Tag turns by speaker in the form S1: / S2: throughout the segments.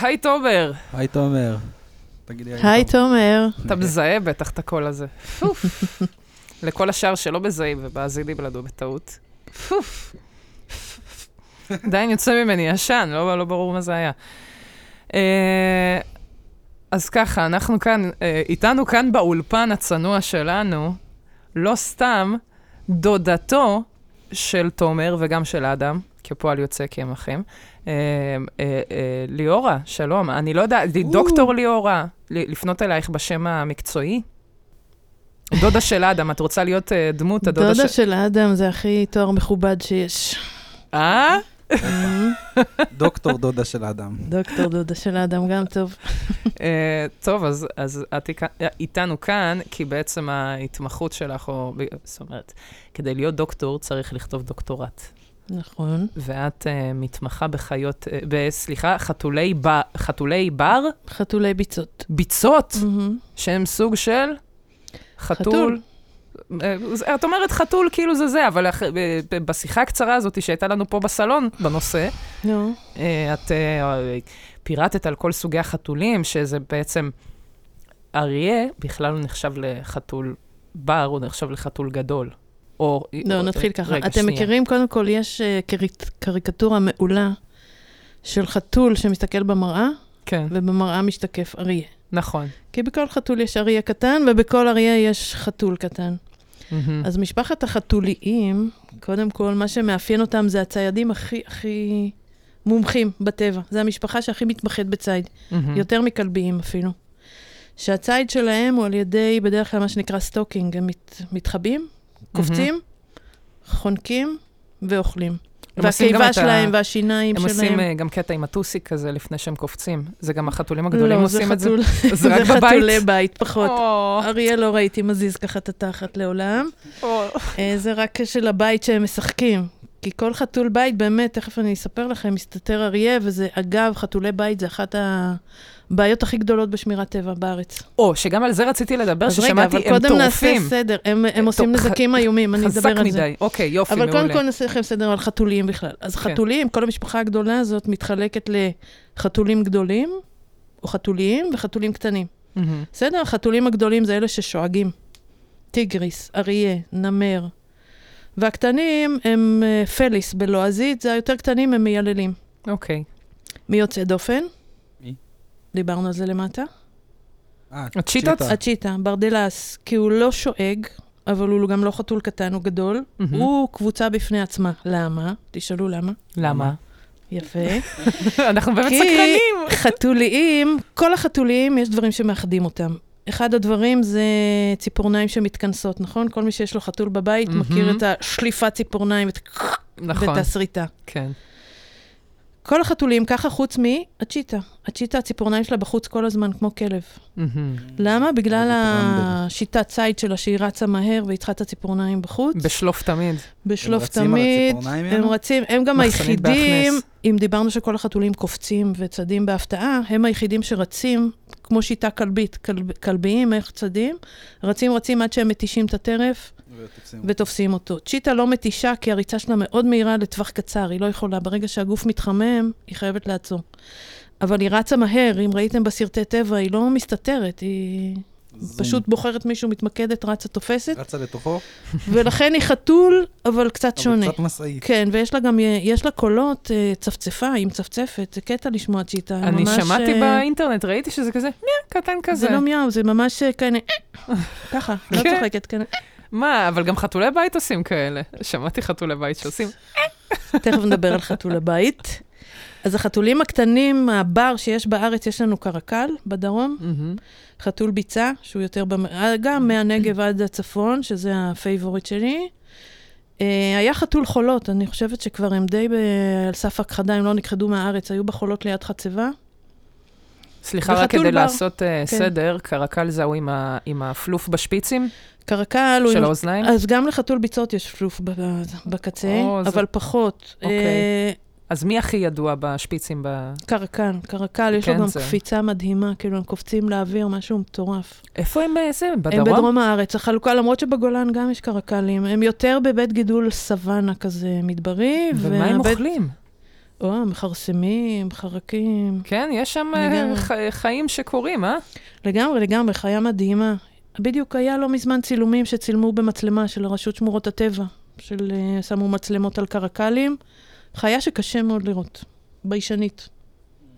S1: היי תומר,
S2: היי תומר. תגידי
S3: היי תומר.
S1: אתה מזהה בטח את הקול הזה. פוף. לכל השאר שלא מזהים ומאזינים לנו בטעות. פוף. עדיין יוצא ממני עשן, לא לא ברור מה זה היה. אה, אז ככה, אנחנו כאן, אה, איתנו כאן באולפן הצנוע שלנו, לא סתם, דודתו של תומר וגם של אדם, כפועל יוצא כי הם אחים. אה, אה, אה, ליאורה, שלום, אני לא יודע, דוקטור ליאורה, ל- לפנות אלייך בשם המקצועי? דודה של אדם, את רוצה להיות אה, דמות הדודה
S3: דודה
S1: של...
S3: של אדם זה הכי תואר מכובד שיש.
S1: אה?
S2: דוקטור דודה של אדם.
S3: דוקטור דודה של אדם, גם טוב.
S1: אה, טוב, אז, אז את איכ- אה, איתנו כאן, כי בעצם ההתמחות שלך, או... ב- זאת אומרת, כדי להיות דוקטור צריך לכתוב דוקטורט.
S3: נכון.
S1: ואת אה, מתמחה בחיות, אה, ב- סליחה, חתולי, ב, חתולי בר?
S3: חתולי ביצות.
S1: ביצות,
S3: מהמם.
S1: שהם סוג של חתול.
S3: חתול.
S1: אה, זה- את אומרת חתול כאילו זה זה, אבל אח- ב- ב- בשיחה הקצרה הזאת שהייתה לנו פה בסלון בנושא,
S3: נו.
S1: אה, את אה, פירטת על כל סוגי החתולים, שזה בעצם אריה בכלל לא נחשב לחתול בר, הוא נחשב לחתול גדול. או...
S3: לא,
S1: או-
S3: נתחיל ככה.
S1: רגע,
S3: אתם
S1: שנייה.
S3: מכירים, קודם כל, יש אה, קריק- קריקטורה מעולה של חתול שמסתכל במראה,
S1: כן,
S3: ובמראה משתקף אריה.
S1: נכון.
S3: כי בכל חתול יש אריה קטן, ובכל אריה יש חתול קטן.
S1: מהמם.
S3: אז משפחת החתוליים, קודם כל, מה שמאפיין אותם זה הציידים הכי הכי מומחים בטבע. זו המשפחה שהכי מתמחית בציד,
S1: מהמם.
S3: יותר מכלביים אפילו. שהציד שלהם הוא על ידי, בדרך כלל, מה שנקרא סטוקינג. הם מת, מתחבאים,
S1: Mm-hmm.
S3: קופצים, חונקים ואוכלים.
S1: הם עושים גם
S3: והקיבה
S1: את ה-
S3: שלהם והשיניים
S1: הם עושים
S3: שלהם.
S1: אה, גם קטע עם הטוסיק כזה לפני שהם קופצים. זה גם החתולים הגדולים
S3: לא, זה
S1: עושים את זה.
S3: חתול-
S1: זה רק בבית.
S3: חתולי בית, פחות.
S1: או,
S3: אריה לא ראיתי מזיז ככה את התחת לעולם.
S1: או.
S3: אה, זה רק של הבית שהם משחקים. כי כל חתול בית, באמת, תכף אני אספר לכם, מסתתר אריה, וזה, אגב, חתולי בית זה אחת הבעיות הכי גדולות בשמירת טבע בארץ.
S1: או, שגם על זה רציתי לדבר,
S3: אז רגע,
S1: ששמעתי,
S3: אבל
S1: הם
S3: קודם נעשה
S1: טורפים.
S3: סדר, הם, הם
S1: טוב,
S3: עושים
S1: ח-
S3: נזקים איומים, אני
S1: חזק
S3: אדבר על זה.
S1: מדי. אוקיי, יופי, מעולה.
S3: אבל קודם כל נעשה לכם סדר על חתולים בכלל. אז
S1: כן.
S3: חתולים, כל המשפחה הגדולה הזאת מתחלקת לחתולים גדולים, או חתוליים, וחתולים קטנים.
S1: מהמם.
S3: בסדר, החתולים הגדולים זה אלה ששואגים. טיגריס, אריה, נמר. והקטנים הם אה, פליס בלועזית, זה היותר קטנים הם מייללים.
S1: אוקיי.
S3: מי יוצא דופן?
S2: מי?
S3: דיברנו על זה למטה.
S2: אה,
S1: הצ'יטות?
S2: צ'יטה.
S3: הצ'יטה, ברדלס, כי הוא לא שואג, אבל הוא גם לא חתול קטן, הוא גדול.
S1: מהמם.
S3: הוא קבוצה בפני עצמה. למה? תשאלו למה.
S1: למה?
S3: יפה.
S1: אנחנו באמת
S3: כי-
S1: סקרנים.
S3: חתוליים, כל החתוליים, יש דברים שמאחדים אותם. אחד הדברים זה ציפורניים שמתכנסות, נכון? כל מי שיש לו חתול בבית
S1: מהמם.
S3: מכיר את השליפת ציפורניים ואת-
S1: נכון,
S3: ואת הסריטה.
S1: כן.
S3: כל החתולים ככה חוץ מהצ'יטה. הצ'יטה, הציפורניים שלה בחוץ כל הזמן, כמו כלב.
S1: מהמם.
S3: למה? בגלל
S2: בטרמבל.
S3: השיטת ציד שלה, שהיא רצה מהר והיא צריכה את הציפורניים בחוץ.
S1: בשלוף תמיד.
S3: בשלוף
S2: הם רצים על
S3: תמיד.
S2: הציפורניים
S3: הם
S2: האלה?
S3: רצים, הם גם
S1: מחסנית
S3: היחידים,
S1: בהכנס.
S3: אם דיברנו שכל החתולים קופצים וצדים בהפתעה, הם היחידים שרצים, כמו שיטה כלבית, כלב, כלביים, איך צדים, רצים רצים עד שהם מתישים את הטרף
S2: ותופסים.
S3: ותופסים אותו. צ'יטה לא מתישה כי הריצה שלה מאוד מהירה לטווח קצר, היא לא יכולה, ברגע שהגוף מתחמם, היא חייבת לעצור. אבל היא רצה מהר, אם ראיתם בסרטי טבע, היא לא מסתתרת, היא
S2: זום.
S3: פשוט בוחרת מישהו, מתמקדת, רצה, תופסת,
S2: רצה לתוכו,
S3: ולכן היא חתול, אבל קצת שונה.
S2: אבל קצת משאית.
S3: כן, ויש לה גם, יש לה קולות אה, צפצפה, היא מצפצפת, זה קטע לשמוע צ'יטה.
S1: אני
S3: ממש,
S1: שמעתי
S3: אה,
S1: באינטרנט, ראיתי שזה כזה, מיה, קטן כזה.
S3: זה לא מיהו, זה ממש אה, כאלה, אה, ככה, לא
S1: כן.
S3: צוחקת, כאלה,
S1: מה, אבל גם חתולי בית עושים כאלה. שמעתי חתולי בית שעושים.
S3: אה. תכף נדבר על חתול הבית. אז החתולים הקטנים, הבר שיש בארץ, יש לנו קרקל בדרום,
S1: מהמם.
S3: חתול ביצה, שהוא יותר, במ... אה, גם מהנגב עד הצפון, שזה הפייבוריט שלי. אה, היה חתול חולות, אני חושבת שכבר הם די ב... על סף הכחדה, הם לא נכחדו מהארץ, היו בחולות ליד חצבה.
S1: סליחה, רק
S3: וחתול
S1: כדי
S3: בר.
S1: לעשות אה, סדר, קרקל זהו עם ה- עם הפלוף בשפיצים
S3: קרקל הוא
S1: של
S3: עם
S1: האוזניים?
S3: אז גם לחתול ביצות יש פלוף ב- בקצה,
S1: כן. או, זה-
S3: אבל פחות.
S1: אוקיי.
S3: אה,
S1: אז מי הכי ידוע בשפיצים? ב...
S3: קרקל, קרקל, יש לו גם
S1: בקנזר.
S3: קפיצה מדהימה, כאילו הם קופצים לאוויר, משהו מטורף.
S1: איפה הם באיזה?
S3: הם
S1: בדרום?
S3: בדרום הארץ, החלוקה, למרות שבגולן גם יש קרקלים, הם יותר בבית גידול סוואנה כזה מדברי.
S1: ומה הם
S3: והבית-
S1: אוכלים?
S3: או, מכרסמים, חרקים.
S1: כן, יש שם אה,
S3: לגמרי.
S1: ח- חיים שקורים, אה?
S3: לגמרי, לגמרי, חיה מדהימה. בדיוק היה לא מזמן צילומים שצילמו במצלמה של הרשות שמורות הטבע, של אה, שמו מצלמות על קרקלים. חיה שקשה מאוד לראות, ביישנית.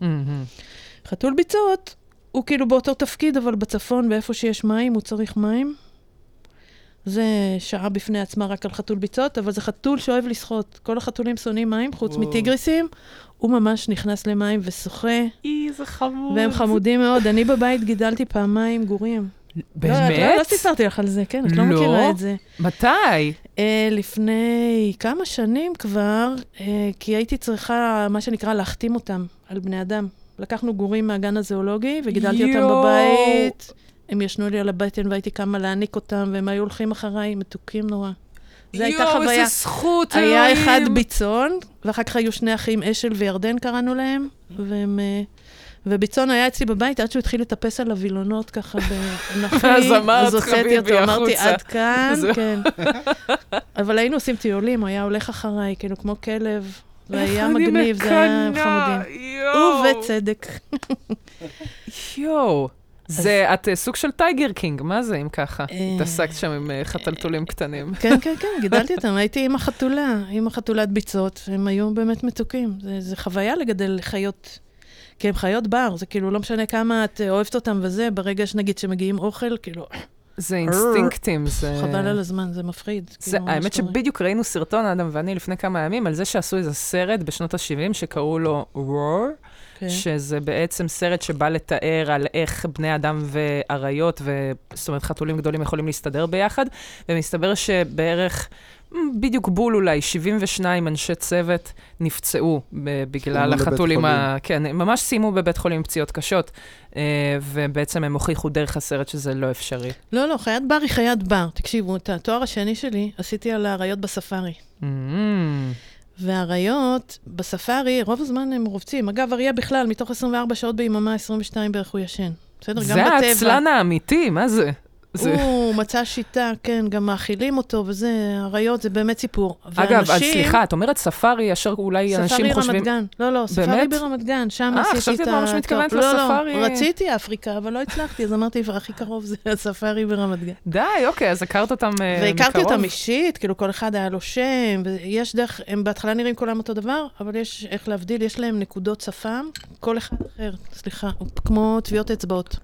S1: מהמם.
S3: חתול ביצות, הוא כאילו באותו תפקיד, אבל בצפון, באיפה שיש מים, הוא צריך מים. זה שעה בפני עצמה רק על חתול ביצות, אבל זה חתול שאוהב לשחות. כל החתולים שונאים מים, חוץ
S2: וואו.
S3: מטיגריסים. הוא ממש נכנס למים ושוחה,
S1: אי, זה חמוד.
S3: והם חמודים מאוד. אני בבית גידלתי פעמיים גורים. לא, את לא- לא
S1: באמת?
S3: סיפרתי לך על זה, כן, את לא
S1: לא?
S3: מכירה את זה.
S1: מתי?
S3: אה, לפני כמה שנים כבר, אה, כי הייתי צריכה, מה שנקרא, להחתים אותם על בני אדם. לקחנו גורים מהגן הזואולוגי וגידלתי אותם
S1: יואו.
S3: בבית. הם ישנו לי על הבטן והייתי קמה להעניק אותם, והם היו הולכים אחריי, מתוקים נורא. זו הייתה
S1: יואו,
S3: חוויה.
S1: איזה זכות, אלוהים.
S3: היה אחד ביצון, ואחר כך היו שני אחים, אשל וירדן קראנו להם, והם... אה, וביצון היה אצלי בבית עד שהוא התחיל לטפס על הווילונות ככה באנכי.
S1: אז אמרת, "חביבי,
S3: אמרתי,
S1: החוצה."
S3: עד כאן,
S1: זהו.
S3: כן. אבל היינו עושים טיולים, הוא היה הולך אחריי, כאילו, כמו כלב. זה
S1: איך
S3: היה
S1: אני
S3: מגניב, זה היה
S1: מקנאה,
S3: חמודים.
S1: יואו.
S3: ובצדק.
S1: יואו. זה, את אה, סוג של טייגר קינג, מה זה אם ככה?
S3: אה.
S1: התעסקת שם עם אה, חתלתולים קטנים.
S3: כן, כן, כן, גידלתי אותם. הייתי עם החתולה, עם החתולת ביצות, הם היו באמת מתוקים. זה, זה חוויה לגדל חיות, כי הם חיות בר, זה כאילו לא משנה כמה את אה, אוהבת אותם וזה, ברגע שנגיד שמגיעים אוכל, כאילו, אה,
S1: זה אינסטינקטים, זה...
S3: חבל על הזמן, זה מפחיד.
S1: זה,
S3: כאילו, ממש
S1: האמת
S3: נורא.
S1: שבדיוק ראינו סרטון, אדם ואני, לפני כמה ימים, על זה שעשו איזה סרט בשנות ה-70 שקראו לו Roar,
S3: כן.
S1: שזה בעצם סרט שבא לתאר על איך בני אדם ואריות, ו... זאת אומרת, חתולים גדולים יכולים להסתדר ביחד, ומסתבר שבערך, מ, בדיוק בול אולי, 72 אנשי צוות נפצעו ב-
S2: סיימו
S1: בגלל
S2: לבית
S1: החתולים ה...
S2: חולים.
S1: כן, הם ממש סיימו בבית חולים עם פציעות קשות, אה, ובעצם הם הוכיחו דרך הסרט שזה לא אפשרי.
S2: Mm-hmm.
S3: לא, לא, חיית בר היא חיית בר. תקשיבו, את התואר השני שלי עשיתי על האריות בספארי.
S1: Mm,
S3: והאריות בספארי, רוב הזמן הם רובצים. אגב, אריה בכלל, מתוך 24 שעות ביממה, 22 בערך הוא ישן. בסדר? גם
S1: זה
S3: בטבע.
S1: העצלן האמיתי, מה זה? זה...
S3: הוא מצא שיטה, כן, גם מאכילים אותו וזה, אריות, זה באמת סיפור.
S1: אגב, אז
S3: ואנשים-
S1: סליחה, את אומרת ספארי, ישר אולי אנשים
S3: ספארי
S1: חושבים...
S3: רמת גן. לא, לא, ספארי
S1: באמת?
S3: ברמת גן, שם
S1: אה,
S3: עשיתי את ה...
S1: חשבתי את ממש מתכוונת
S3: לא,
S1: לספארי.
S3: לא, רציתי אפריקה, אבל לא הצלחתי, אז אמרתי, הכי קרוב זה הספארי ברמת גן.
S1: די, אוקיי, אז הכרת אותם אה, מקרוב.
S3: והכרתי אותם אישית, כאילו כל אחד היה לו שם, ויש דרך, הם בהתחלה נראים כולם אותו דבר, אבל יש איך להבדיל, יש להם נקודות שפם, כל אחד אחר, סליחה, הוא כמו טביעות אצבעות.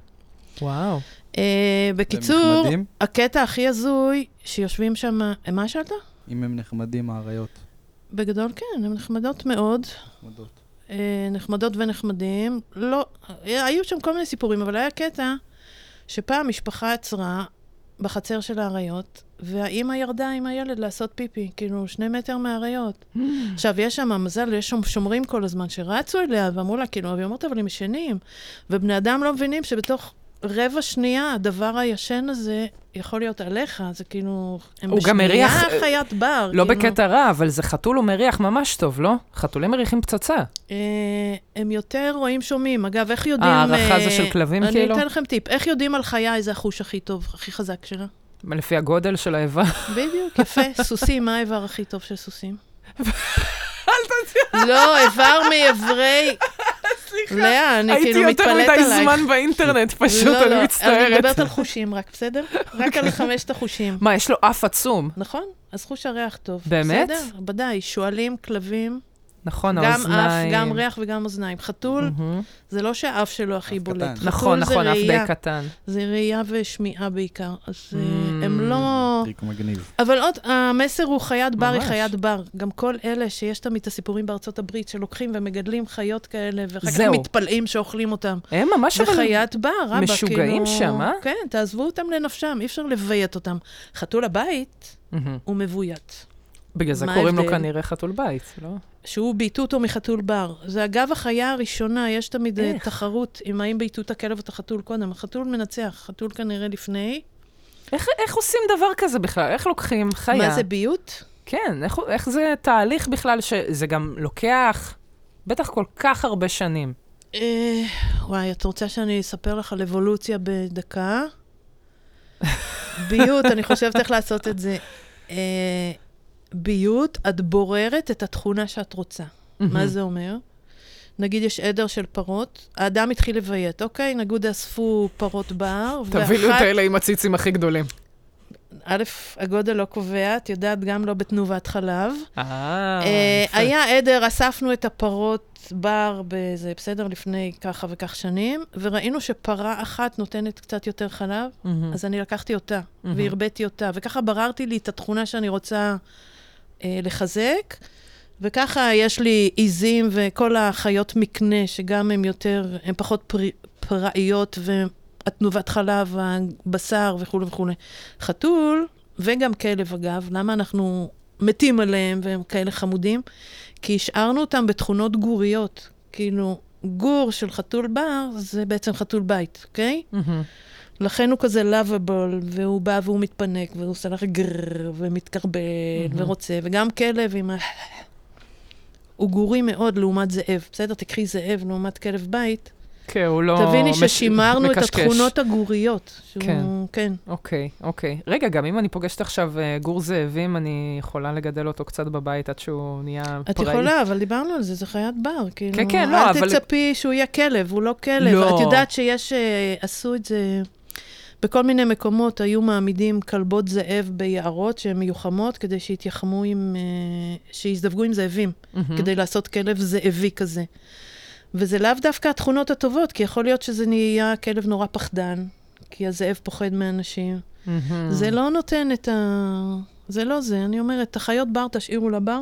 S1: וואו.
S3: אה, בקיצור,
S2: נחמדים?
S3: הקטע הכי הזוי, שיושבים שם, מה שאלת?
S2: אם הם נחמדים, האריות.
S3: בגדול כן, הן נחמדות מאוד,
S2: נחמדות.
S3: אה, נחמדות ונחמדים. לא, היו שם כל מיני סיפורים, אבל היה קטע שפעם משפחה עצרה בחצר של האריות, והאימא ירדה עם הילד לעשות פיפי, כאילו, שני מטר מהאריות.
S1: Mm.
S3: עכשיו, יש שם מזל, יש שם שומרים כל הזמן שרצו אליה, ואמרו לה, כאילו, והיא אומרת, אבל הם ישנים. ובני אדם לא מבינים שבתוך... רבע שנייה, הדבר הישן הזה יכול להיות עליך, זה כאילו... הם
S1: הוא גם
S3: בשנייה
S1: מריח-
S3: חיית בר.
S1: לא
S3: כאילו.
S1: בקטע רע, אבל זה חתול הוא מריח ממש טוב, לא? חתולים מריחים פצצה.
S3: אה, הם יותר רואים שומעים. אגב, איך יודעים...
S1: ההערכה
S3: אה,
S1: זה של כלבים,
S3: אני
S1: כאילו?
S3: אתן לכם טיפ. איך יודעים על חיה איזה החוש הכי טוב, הכי חזק שלה?
S1: לפי הגודל של האיבה.
S3: בדיוק, יפה. סוסים, מה האיבר הכי טוב של סוסים? לא, איבר מאיברי... סליחה, לאה, אני כאילו מתפלאת עלייך.
S1: באינטרנט,
S3: לא, לא, אני מדברת על חושים רק, בסדר? רק על חמשת החושים.
S1: מה, יש לו אף עצום.
S3: נכון? אז חוש הריח טוב.
S1: באמת?
S3: בסדר, ודאי. שועלים, כלבים,
S1: נכון,
S3: גם אף,
S1: האוזניים.
S3: גם ריח וגם אוזניים. חתול,
S1: מהמם.
S3: זה לא שהאף שלו הכי
S2: אף
S3: בולט.
S2: קטן.
S3: חתול
S1: נכון,
S3: זה
S1: נכון, אף
S3: ראייה.
S1: די קטן.
S3: זה ראייה ושמיעה בעיקר. אז אה,
S1: Mm.
S3: הם לא...
S2: טריק מגניב.
S3: אבל עוד, המסר הוא חיית בר היא
S1: ממש.
S3: חיית בר. גם כל אלה שיש תמיד את הסיפורים בארצות הברית, שלוקחים ומגדלים חיות כאלה, ואחר כך
S1: זהו.
S3: מתפלאים שאוכלים אותם.
S1: הם ממש... אבל-
S3: וחיית בר, רבאק, כאילו...
S1: משוגעים שם, אה?
S3: כן, תעזבו אותם לנפשם, אי אפשר לביית אותם. חתול הבית
S1: מהמם.
S3: הוא מבוית.
S1: בגלל זה
S3: מה
S1: קוראים לו
S3: ההבדל?
S1: כנראה חתול בית, לא?
S3: שהוא בייתו אותו מחתול בר. זה אגב החיה הראשונה, יש תמיד אה,
S1: איך?
S3: תחרות עם האם בייתו את הכלב או את החתול קודם. החתול מנצח, חתול כנראה לפני.
S1: איך, איך עושים דבר כזה בכלל? איך לוקחים חיה?
S3: מה זה ביות?
S1: כן, איך, הוא- איך זה תהליך בכלל שזה גם לוקח בטח כל כך הרבה שנים.
S3: אה, וואי, את רוצה שאני אספר לך על אבולוציה בדקה? ביות, אני חושבת איך לעשות את זה. אה, ביות, את בוררת את התכונה שאת רוצה. מה זה אומר? נגיד יש עדר של פרות, האדם התחיל לביית, אוקיי? נגיד אספו פרות בר,
S1: תבינו את האלה עם הציצים הכי גדולים.
S3: א', הגודל לא קובע, את יודעת, גם לא בתנובת חלב.
S1: אה,
S3: אה,
S1: יפה.
S3: היה עדר, אספנו את הפרות בר באיזה, בסדר, לפני ככה וכך שנים, וראינו שפרה אחת נותנת קצת יותר חלב,
S1: מהמם.
S3: אז אני לקחתי אותה,
S1: מהמם.
S3: והרביתי אותה, וככה בררתי לי את התכונה שאני רוצה אה, לחזק, וככה יש לי עיזים וכל החיות מקנה, שגם הן יותר, הן פחות פרי, פראיות, והתנובת חלב, הבשר וכולי וכולי. חתול, וגם כלב אגב, למה אנחנו מתים עליהם והם כאלה חמודים? כי השארנו אותם בתכונות גוריות. כאילו, גור של חתול בר זה בעצם חתול בית, אוקיי?
S1: מהמם.
S3: לכן הוא כזה לאביבול, והוא בא והוא מתפנק, והוא עושה לך גרר, ומתקרבל,
S1: מהמם.
S3: ורוצה, וגם כלב עם ה... הוא גורי מאוד לעומת זאב. בסדר, תקחי זאב לעומת כלב בית.
S1: כן, הוא לא...
S3: תביני
S1: מש-
S3: ששימרנו את
S1: מקשקש.
S3: התכונות הגוריות.
S1: כן.
S3: שהוא... כן.
S1: אוקיי, אוקיי. רגע, גם אם אני פוגשת עכשיו אה, גור זאבים, אני יכולה לגדל אותו קצת בבית עד שהוא נהיה פראי.
S3: את יכולה, אבל דיברנו על זה, זה חיית בר. כאילו,
S1: כן, כן, לא,
S3: אל
S1: אבל-
S3: תצפי שהוא יהיה כלב, הוא לא כלב.
S1: לא.
S3: את יודעת שיש, אה, עשו את זה, בכל מיני מקומות היו מעמידים כלבות זאב ביערות שהן מיוחמות, כדי שיתייחמו עם, אה, שיזדווגו עם זאבים,
S1: מהמם.
S3: כדי לעשות כלב זאבי כזה. וזה לאו דווקא התכונות הטובות, כי יכול להיות שזה נהיה כלב נורא פחדן, כי הזאב פוחד מאנשים.
S1: מהמם.
S3: זה לא נותן את ה... זה לא זה. אני אומרת, את החיות בר תשאירו לבר.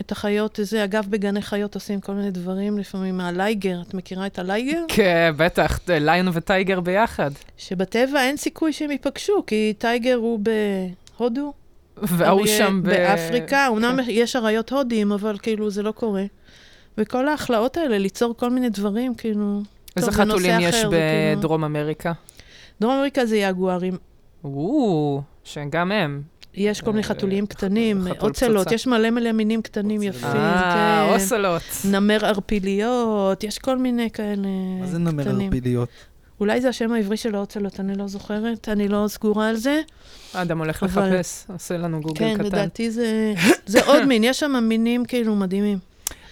S3: את החיות, זה, אגב, בגני חיות עושים כל מיני דברים, לפעמים הלייגר, את מכירה את הלייגר?
S1: כן, בטח, ת- ליון וטייגר ביחד.
S3: שבטבע אין סיכוי שהם ייפגשו, כי טייגר הוא בהודו.
S1: והוא
S3: אריה
S1: שם ב... כן.
S3: באפריקה, אמנם יש אריות הודים, אבל כאילו זה לא קורה. וכל ההכלאות האלה, ליצור כל מיני דברים, כאילו...
S1: איזה
S3: טוב, זה
S1: חתולים
S3: נושא
S1: יש
S3: אחר, זה כאילו-
S1: בדרום אמריקה?
S3: דרום אמריקה זה יגוארים.
S1: או, שגם הם.
S3: יש כל מיני
S1: אה,
S3: חתולים קטנים,
S1: חתול
S3: אוצלות,
S1: פצצה.
S3: יש מלא מלא מינים קטנים
S2: אוצלות.
S3: יפים.
S1: אה,
S3: כן.
S1: אוסלות.
S3: נמר ערפיליות, יש כל מיני כאלה
S2: מה זה נמר
S3: קטנים.
S2: ערפיליות?
S3: אולי זה השם העברי של האוצלות, אני לא זוכרת, אני לא סגורה על זה.
S1: אדם הולך
S3: אבל-
S1: לחפש, עושה לנו גוגל
S3: כן,
S1: קטן.
S3: לדעתי זה, זה עוד מין, יש שם מינים כאילו מדהימים.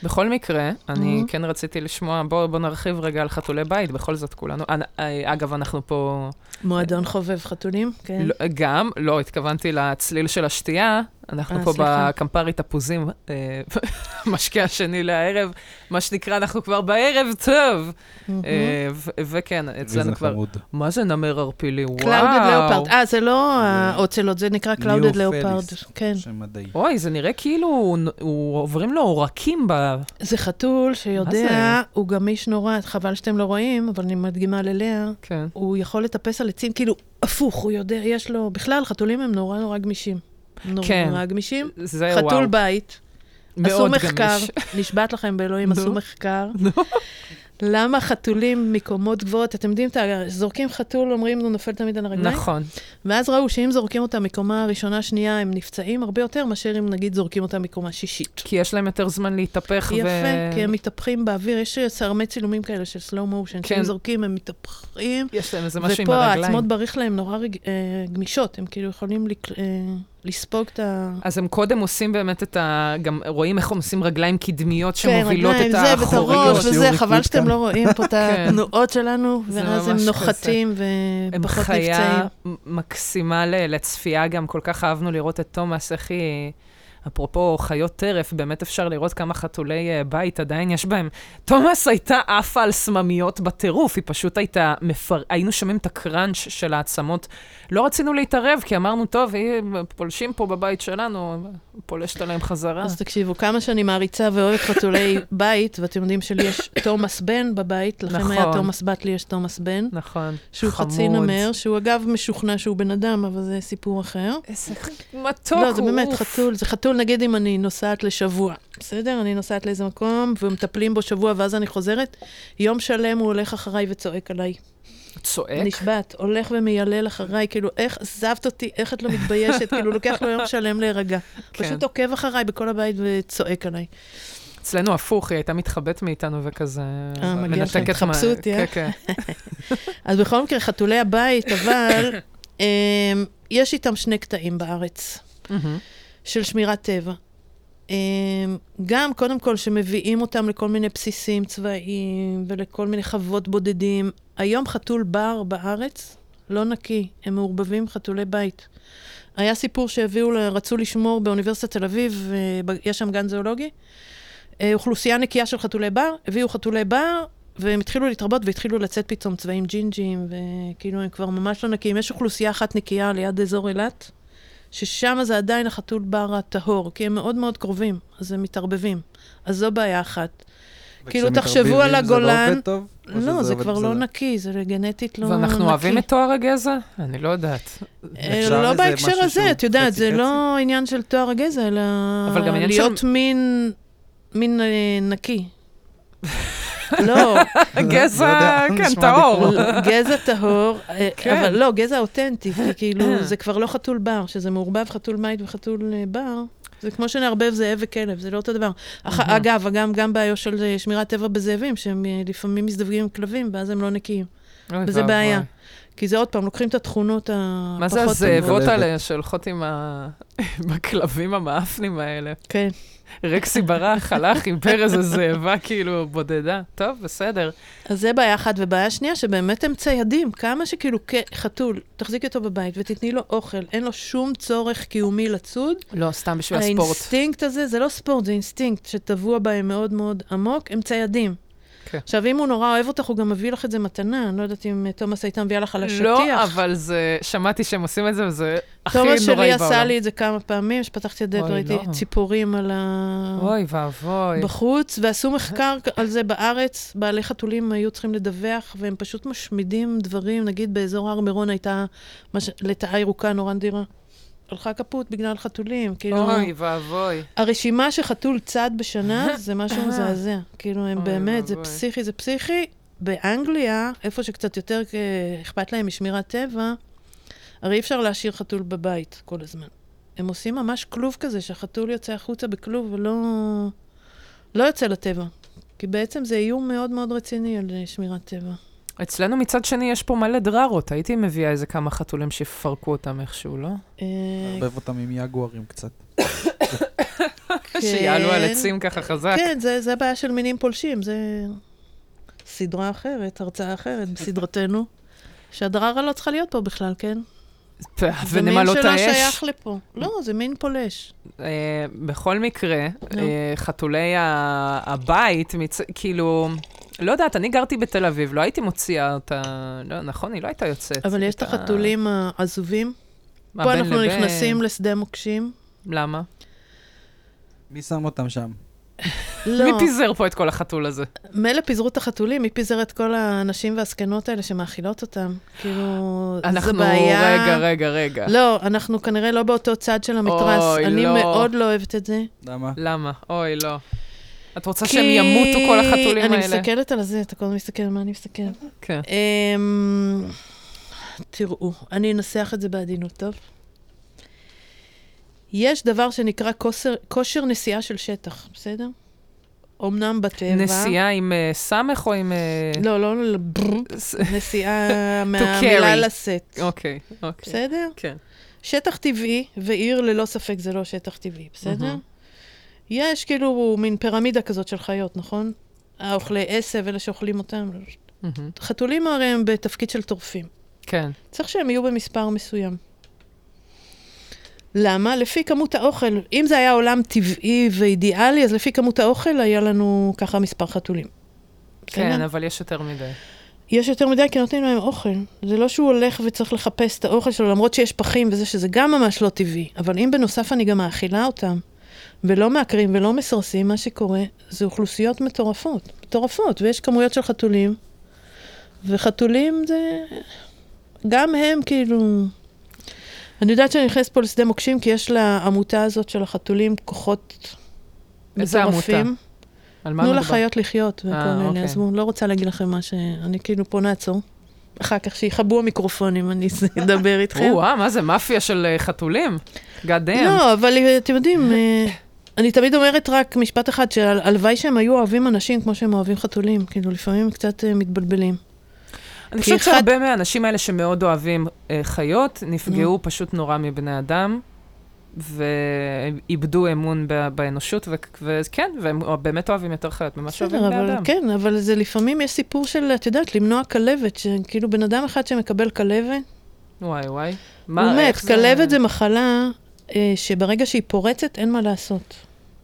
S1: בכל מקרה, אני
S3: Mhm.
S1: כן רציתי לשמוע, בואו בוא נרחיב רגע על חתולי בית, בכל זאת כולנו. אנ- אה, אגב, אנחנו פה
S3: מועדון חובב חתולים, כן.
S1: לא, גם, לא, התכוונתי לצליל של השתייה, אנחנו
S3: אה,
S1: פה
S3: סליחה.
S1: בקמפרי תפוזים, אה, משקה השני לערב, מה שנקרא, אנחנו כבר בערב טוב.
S3: מהמם.
S1: אה, ו- וכן, אצלנו
S2: וזה
S1: כבר...
S2: חמוד.
S1: מה זה נמר ערפילי? וואו.
S3: קלאודד לאופרד, אה, זה לא האוצלות, זה נקרא קלאודד
S2: ניאופליס.
S3: לאופרד, כן.
S2: שם מדעי.
S1: אוי, זה נראה כאילו הוא נ- הוא- עוברים לו עורקים ב...
S3: זה חתול שיודע,
S1: זה? הוא
S3: הוא גמיש נורא, חבל שאתם לא רואים, אבל אני מדגימה ללאה.
S1: כן.
S3: הוא יכול לטפס על עצים, כאילו, הפוך, הוא יודע, יש לו... בכלל, חתולים הם נורא נורא גמישים. נורא
S1: כן.
S3: נורא גמישים.
S1: זה וואו.
S3: חתול בית, עשו
S1: מאוד
S3: מחקר,
S1: גמיש.
S3: נשבעת לכם באלוהים,
S1: נו.
S3: עשו מחקר.
S1: נו.
S3: למה חתולים מקומות גבוהות, אתם יודעים, את ה- זורקים חתול, אומרים, הוא נופל תמיד על הרגליים.
S1: נכון.
S3: ואז ראו שאם זורקים אותם מקומה ראשונה, שנייה, הם נפצעים הרבה יותר מאשר אם נגיד זורקים אותם מקומה שישית.
S1: כי יש להם יותר זמן להתהפך ו...
S3: יפה, כי הם מתהפכים באוויר, יש סרמי צילומים כאלה של סלואו מושן,
S1: כן.
S3: שהם זורקים, הם מתהפכים.
S1: יש להם איזה משהו עם
S3: ופה
S1: הרגליים.
S3: העצמות בריח להם נורא רג... אה, גמישות, הם כאילו יכולים לק... אה, לספוג את ה...
S1: אז הם קודם עושים באמת את ה... גם רואים איך הם עושים רגליים קדמיות שמובילות
S3: כן, רגליים,
S1: את
S3: זה, ואת
S1: האחוריות.
S3: הראש
S2: שיעור
S3: וזה,
S2: ריקוד
S3: חבל שאתם
S2: כאן.
S3: לא רואים פה את
S1: כן.
S3: התנועות שלנו,
S1: זה
S3: ואז הם
S1: ממש
S3: נוחתים
S1: הם
S3: ופחות
S1: חיה
S3: נפצעים.
S1: מקסימה ל- לצפייה גם, כל כך אהבנו לראות את תומאס, איך היא... אפרופו חיות טרף, באמת אפשר לראות כמה חתולי אה, בית עדיין יש בהם. תומאס הייתה עפה על סממיות בטירוף, היא פשוט הייתה מפר... היינו שומעים את הקראנץ' של העצמות. לא רצינו להתערב, כי אמרנו, טוב, היא פולשים פה בבית שלנו, פולשת עליהם חזרה.
S3: אז תקשיבו, כמה שאני מעריצה ואוהבת חתולי בית, ואתם יודעים שלי יש תומאס בן בבית, לכם היה
S1: נכון.
S3: תומאס בת, לי יש תומאס בן,
S1: נכון.
S3: שהוא חצי
S1: חמוד.
S3: נמר, שהוא אגב משוכנע שהוא בן אדם, אבל זה סיפור אחר.
S1: איזה מתוק,
S3: לא, זה באמת
S1: אוף.
S3: חתול, זה חתול, נגיד אם אני נוסעת לשבוע, בסדר? אני נוסעת לאיזה מקום, ומטפלים בו שבוע, ואז אני חוזרת, יום שלם הוא הולך אחריי וצועק עליי.
S1: צועק?
S3: נשבעת, הולך ומיילל אחריי, כאילו, איך עזבת אותי, איך את לא מתביישת, כאילו, לוקח לו יום שלם להירגע.
S1: כן.
S3: פשוט עוקב אחריי בכל הבית וצועק עליי.
S1: אצלנו הפוך, היא הייתה מתחבאת מאיתנו וכזה...
S3: אה, מגיע
S1: מנתקת
S3: לכם,
S1: מה-
S3: תחפשו אותי, אה?
S1: כן, כן.
S3: אז בכל מקרה, חתולי הבית, אבל אמ, יש איתם שני קטעים בארץ
S1: מהמם.
S3: של שמירת טבע. אמ, גם, קודם כל, שמביאים אותם לכל מיני בסיסים צבאיים ולכל מיני חוות בודדים. היום חתול בר בארץ לא נקי, הם מעורבבים חתולי בית. היה סיפור שהביאו, ל- רצו לשמור באוניברסיטת תל אביב, אה, ב- יש שם גן זואולוגי, אה, אוכלוסייה נקייה של חתולי בר, הביאו חתולי בר, והם התחילו להתרבות והתחילו לצאת פתאום צבעים ג'ינג'ים, וכאילו הם כבר ממש לא נקיים. יש אוכלוסייה אחת נקייה ליד אזור אילת, ששם זה עדיין החתול בר הטהור, כי הם מאוד מאוד קרובים, אז הם מתערבבים. אז זו בעיה אחת. כאילו,
S2: וכשמתערבבים
S3: תחשבו על
S2: זה
S3: הגולן.
S2: לא עובד טוב? או
S3: לא,
S2: שזה
S3: זה
S2: עובד
S3: כבר
S2: בסדר?
S3: לא נקי, זה גנטית לא נקי.
S1: ואנחנו אוהבים את טוהר הגזע? אני לא יודעת.
S3: אה,
S2: אפשר
S3: לא
S2: איזה
S3: בהקשר
S2: משהו
S3: הזה,
S2: שהוא
S3: את יודעת, זה
S2: חצי-חצי?
S3: לא עניין של תואר הגזע, אלא
S1: אבל גם עניין של-
S3: להיות מין, מין אה, נקי. לא,
S2: לא
S1: הגזע,
S2: יודע, נשמע
S1: כן,
S2: לי
S1: טהור.
S3: גזע טהור, אה,
S1: כן.
S3: אבל לא, גזע אותנטי, כי כאילו זה כבר לא חתול בר, שזה מעורבב חתול בית וחתול אה, בר. זה כמו שנערבב זאב וכלב, זה לא אותו דבר. אך-
S1: מהמם.
S3: אגב, גם, גם בעיה של אה, שמירת טבע בזאבים, שהם אה, לפעמים מזדווגים עם כלבים, ואז הם לא נקיים.
S1: אוי
S3: וזה
S1: ואבוי.
S3: בעיה. כי זה עוד פעם, לוקחים את התכונות הפחות...
S1: מה זה
S3: טובות.
S1: הזאבות
S2: טובות.
S1: האלה שהולכות עם ה- עם הכלבים המאפנים האלה?
S3: כן.
S1: רקסי ברח, הלך, חיבר איזה זאבה כאילו בודדה. טוב, בסדר.
S3: אז זה בעיה אחת, ובעיה שנייה, שבאמת הם ציידים. כמה שכאילו כ- חתול, תחזיקי אותו בבית ותתני לו אוכל, אין לו שום צורך קיומי לצוד.
S1: לא, סתם בשביל הספורט.
S3: האינסטינקט הזה, זה לא ספורט, זה אינסטינקט שטבוע בהם מאוד מאוד עמוק, הם ציידים.
S1: כן.
S3: עכשיו, אם הוא נורא אוהב אותך, הוא גם מביא לך את זה מתנה, אני לא יודעת אם אה, תומאס הייתה מביאה לך על השטיח.
S1: לא, אבל זה, שמעתי שהם עושים את זה, וזה הכי נוראי בעולם.
S3: תומאס שלי עשה לי את זה כמה פעמים, שפתחתי את הדלת,
S1: אוי,
S3: ראיתי
S1: לא.
S3: ציפורים על ה...
S1: אוי ואבוי.
S3: בחוץ, ועשו מחקר על זה בארץ. בעלי חתולים היו צריכים לדווח, והם פשוט משמידים דברים. נגיד באזור הר מירון הייתה מש... לטאה ירוקה נורא נדירה. הלכה כפות בגלל חתולים. כאילו,
S1: אוי ואבוי.
S3: הרשימה שחתול צד בשנה זה משהו מזעזע. כאילו, הם
S1: אוי
S3: באמת, זה
S1: ואבוי.
S3: פסיכי, זה פסיכי. באנגליה, איפה שקצת יותר אה, אכפת להם משמירת טבע, הרי אי אפשר להשאיר חתול בבית כל הזמן. הם עושים ממש כלוב כזה, שהחתול יוצא החוצה בכלוב ולא לא יוצא לטבע. כי בעצם זה איום מאוד מאוד רציני על אה, שמירת טבע.
S1: אצלנו מצד שני יש פה מלא דררות, הייתי מביאה איזה כמה חתולים שיפרקו אותם איכשהו, לא?
S3: אה,
S2: לערבב אותם עם יגוארים קצת.
S3: כן.
S1: שיעלו על עצים ככה חזק.
S3: כן, זה, זה בעיה של מינים פולשים, זה סדרה אחרת, הרצאה אחרת בסדרתנו. שהדררה לא צריכה להיות פה בכלל, כן?
S1: פ- ונמלות
S3: זה מין שלא
S1: האש.
S3: שייך לפה. לא, זה מין פולש.
S1: אה, בכל מקרה, אה, חתולי ה- הבית, מצ- כאילו... לא יודעת, אני גרתי בתל אביב, לא הייתי מוציאה אותה, לא, נכון, היא לא הייתה יוצאת.
S3: אבל יש את החתולים העזובים.
S1: מה,
S3: פה
S1: בין
S3: אנחנו
S1: לבין?
S3: נכנסים לשדה מוקשים.
S1: למה?
S2: מי שם אותם שם?
S3: לא,
S1: מי פיזר פה את כל החתול הזה?
S3: מילא פיזרו את החתולים, מי פיזר את כל האנשים והזקנות האלה שמאכילות אותם? כאילו, זה
S1: אנחנו,
S3: בעיה.
S1: רגע, רגע, רגע.
S3: לא, אנחנו כנראה לא באותו צד של המתרס.
S1: אוי,
S3: אני
S1: לא.
S3: מאוד לא אוהבת את זה.
S2: למה?
S1: למה? אוי, לא. את רוצה
S3: כי
S1: שהם ימותו כל החתולים
S3: אני
S1: האלה?
S3: מסתכלת על זה, אתה כל הזמן מסתכל על מה אני מסתכלת.
S1: כן.
S3: אמ, תראו, אני אנסח את זה בעדינות, טוב? יש דבר שנקרא כושר, כושר נסיעה של שטח, בסדר? אמנם בטבע...
S1: נסיעה עם אה, סמך או עם... אה,
S3: לא, לא, לא, ברור,
S1: ס-
S3: נסיעה
S1: carry.
S3: מהמילה לשאת,
S1: אוקיי, אוקיי.
S3: בסדר?
S1: כן.
S3: שטח טבעי, ועיר ללא ספק זה לא שטח טבעי, בסדר?
S1: מהמם. Mm-hmm.
S3: יש כאילו מין פירמידה כזאת של חיות, נכון? האוכלי עשב, אלה שאוכלים אותם.
S1: מהמם.
S3: חתולים הרי הם בתפקיד של טורפים.
S1: כן.
S3: צריך שהם יהיו במספר מסוים. למה? לפי כמות האוכל. אם זה היה עולם טבעי ואידיאלי, אז לפי כמות האוכל היה לנו ככה מספר חתולים.
S1: כן,
S3: בסדר?
S1: אבל יש יותר מדי.
S3: יש יותר מדי כי נותנים להם אוכל. זה לא שהוא הולך וצריך לחפש את האוכל שלו, למרות שיש פחים וזה, שזה גם ממש לא טבעי. אבל אם בנוסף אני גם מאכילה אותם, ולא מעקרים ולא מסרסים, מה שקורה זה אוכלוסיות מטורפות. מטורפות, ויש כמויות של חתולים, וחתולים זה... גם הם כאילו... אני יודעת שאני נכנסת פה לשדה מוקשים, כי יש לעמותה הזאת של החתולים כוחות
S1: איזה עמותה?
S3: מטורפים.
S1: על מה
S3: תנו
S1: מדובר?
S3: לחיות לחיות וכל
S1: אה,
S3: מיני,
S1: אוקיי.
S3: עזבו, לא רוצה להגיד לכם מה ש... אני כאילו פה נעצור. אחר כך שיכבו המיקרופונים, אני אדבר איתכם.
S1: או-אה, מה זה, מאפיה של אה, חתולים? God damn.
S3: לא, אבל אה, אתם יודעים, אה, אני תמיד אומרת רק משפט אחד, שהלוואי שהם היו אוהבים אנשים כמו שהם אוהבים חתולים, כאילו לפעמים הם קצת אה, מתבלבלים.
S1: אני חושבת
S3: אחד-
S1: שהרבה מהאנשים האלה שמאוד אוהבים אה, חיות, נפגעו פשוט נורא מבני אדם, ואיבדו אמון ב- באנושות, ו- וכן, והם באמת אוהבים יותר חיות ממה שאוהבים
S3: בסדר,
S1: בני
S3: אבל
S1: אדם.
S3: כן, אבל זה לפעמים יש סיפור של, את יודעת, למנוע כלבת, שכאילו בן אדם אחד שמקבל כלבת,
S1: וואי, וואי.
S3: הוא
S1: מה,
S3: מת,
S1: איך זה-
S3: כלבת זה מחלה אה, שברגע שהיא פורצת, אין מה לעשות.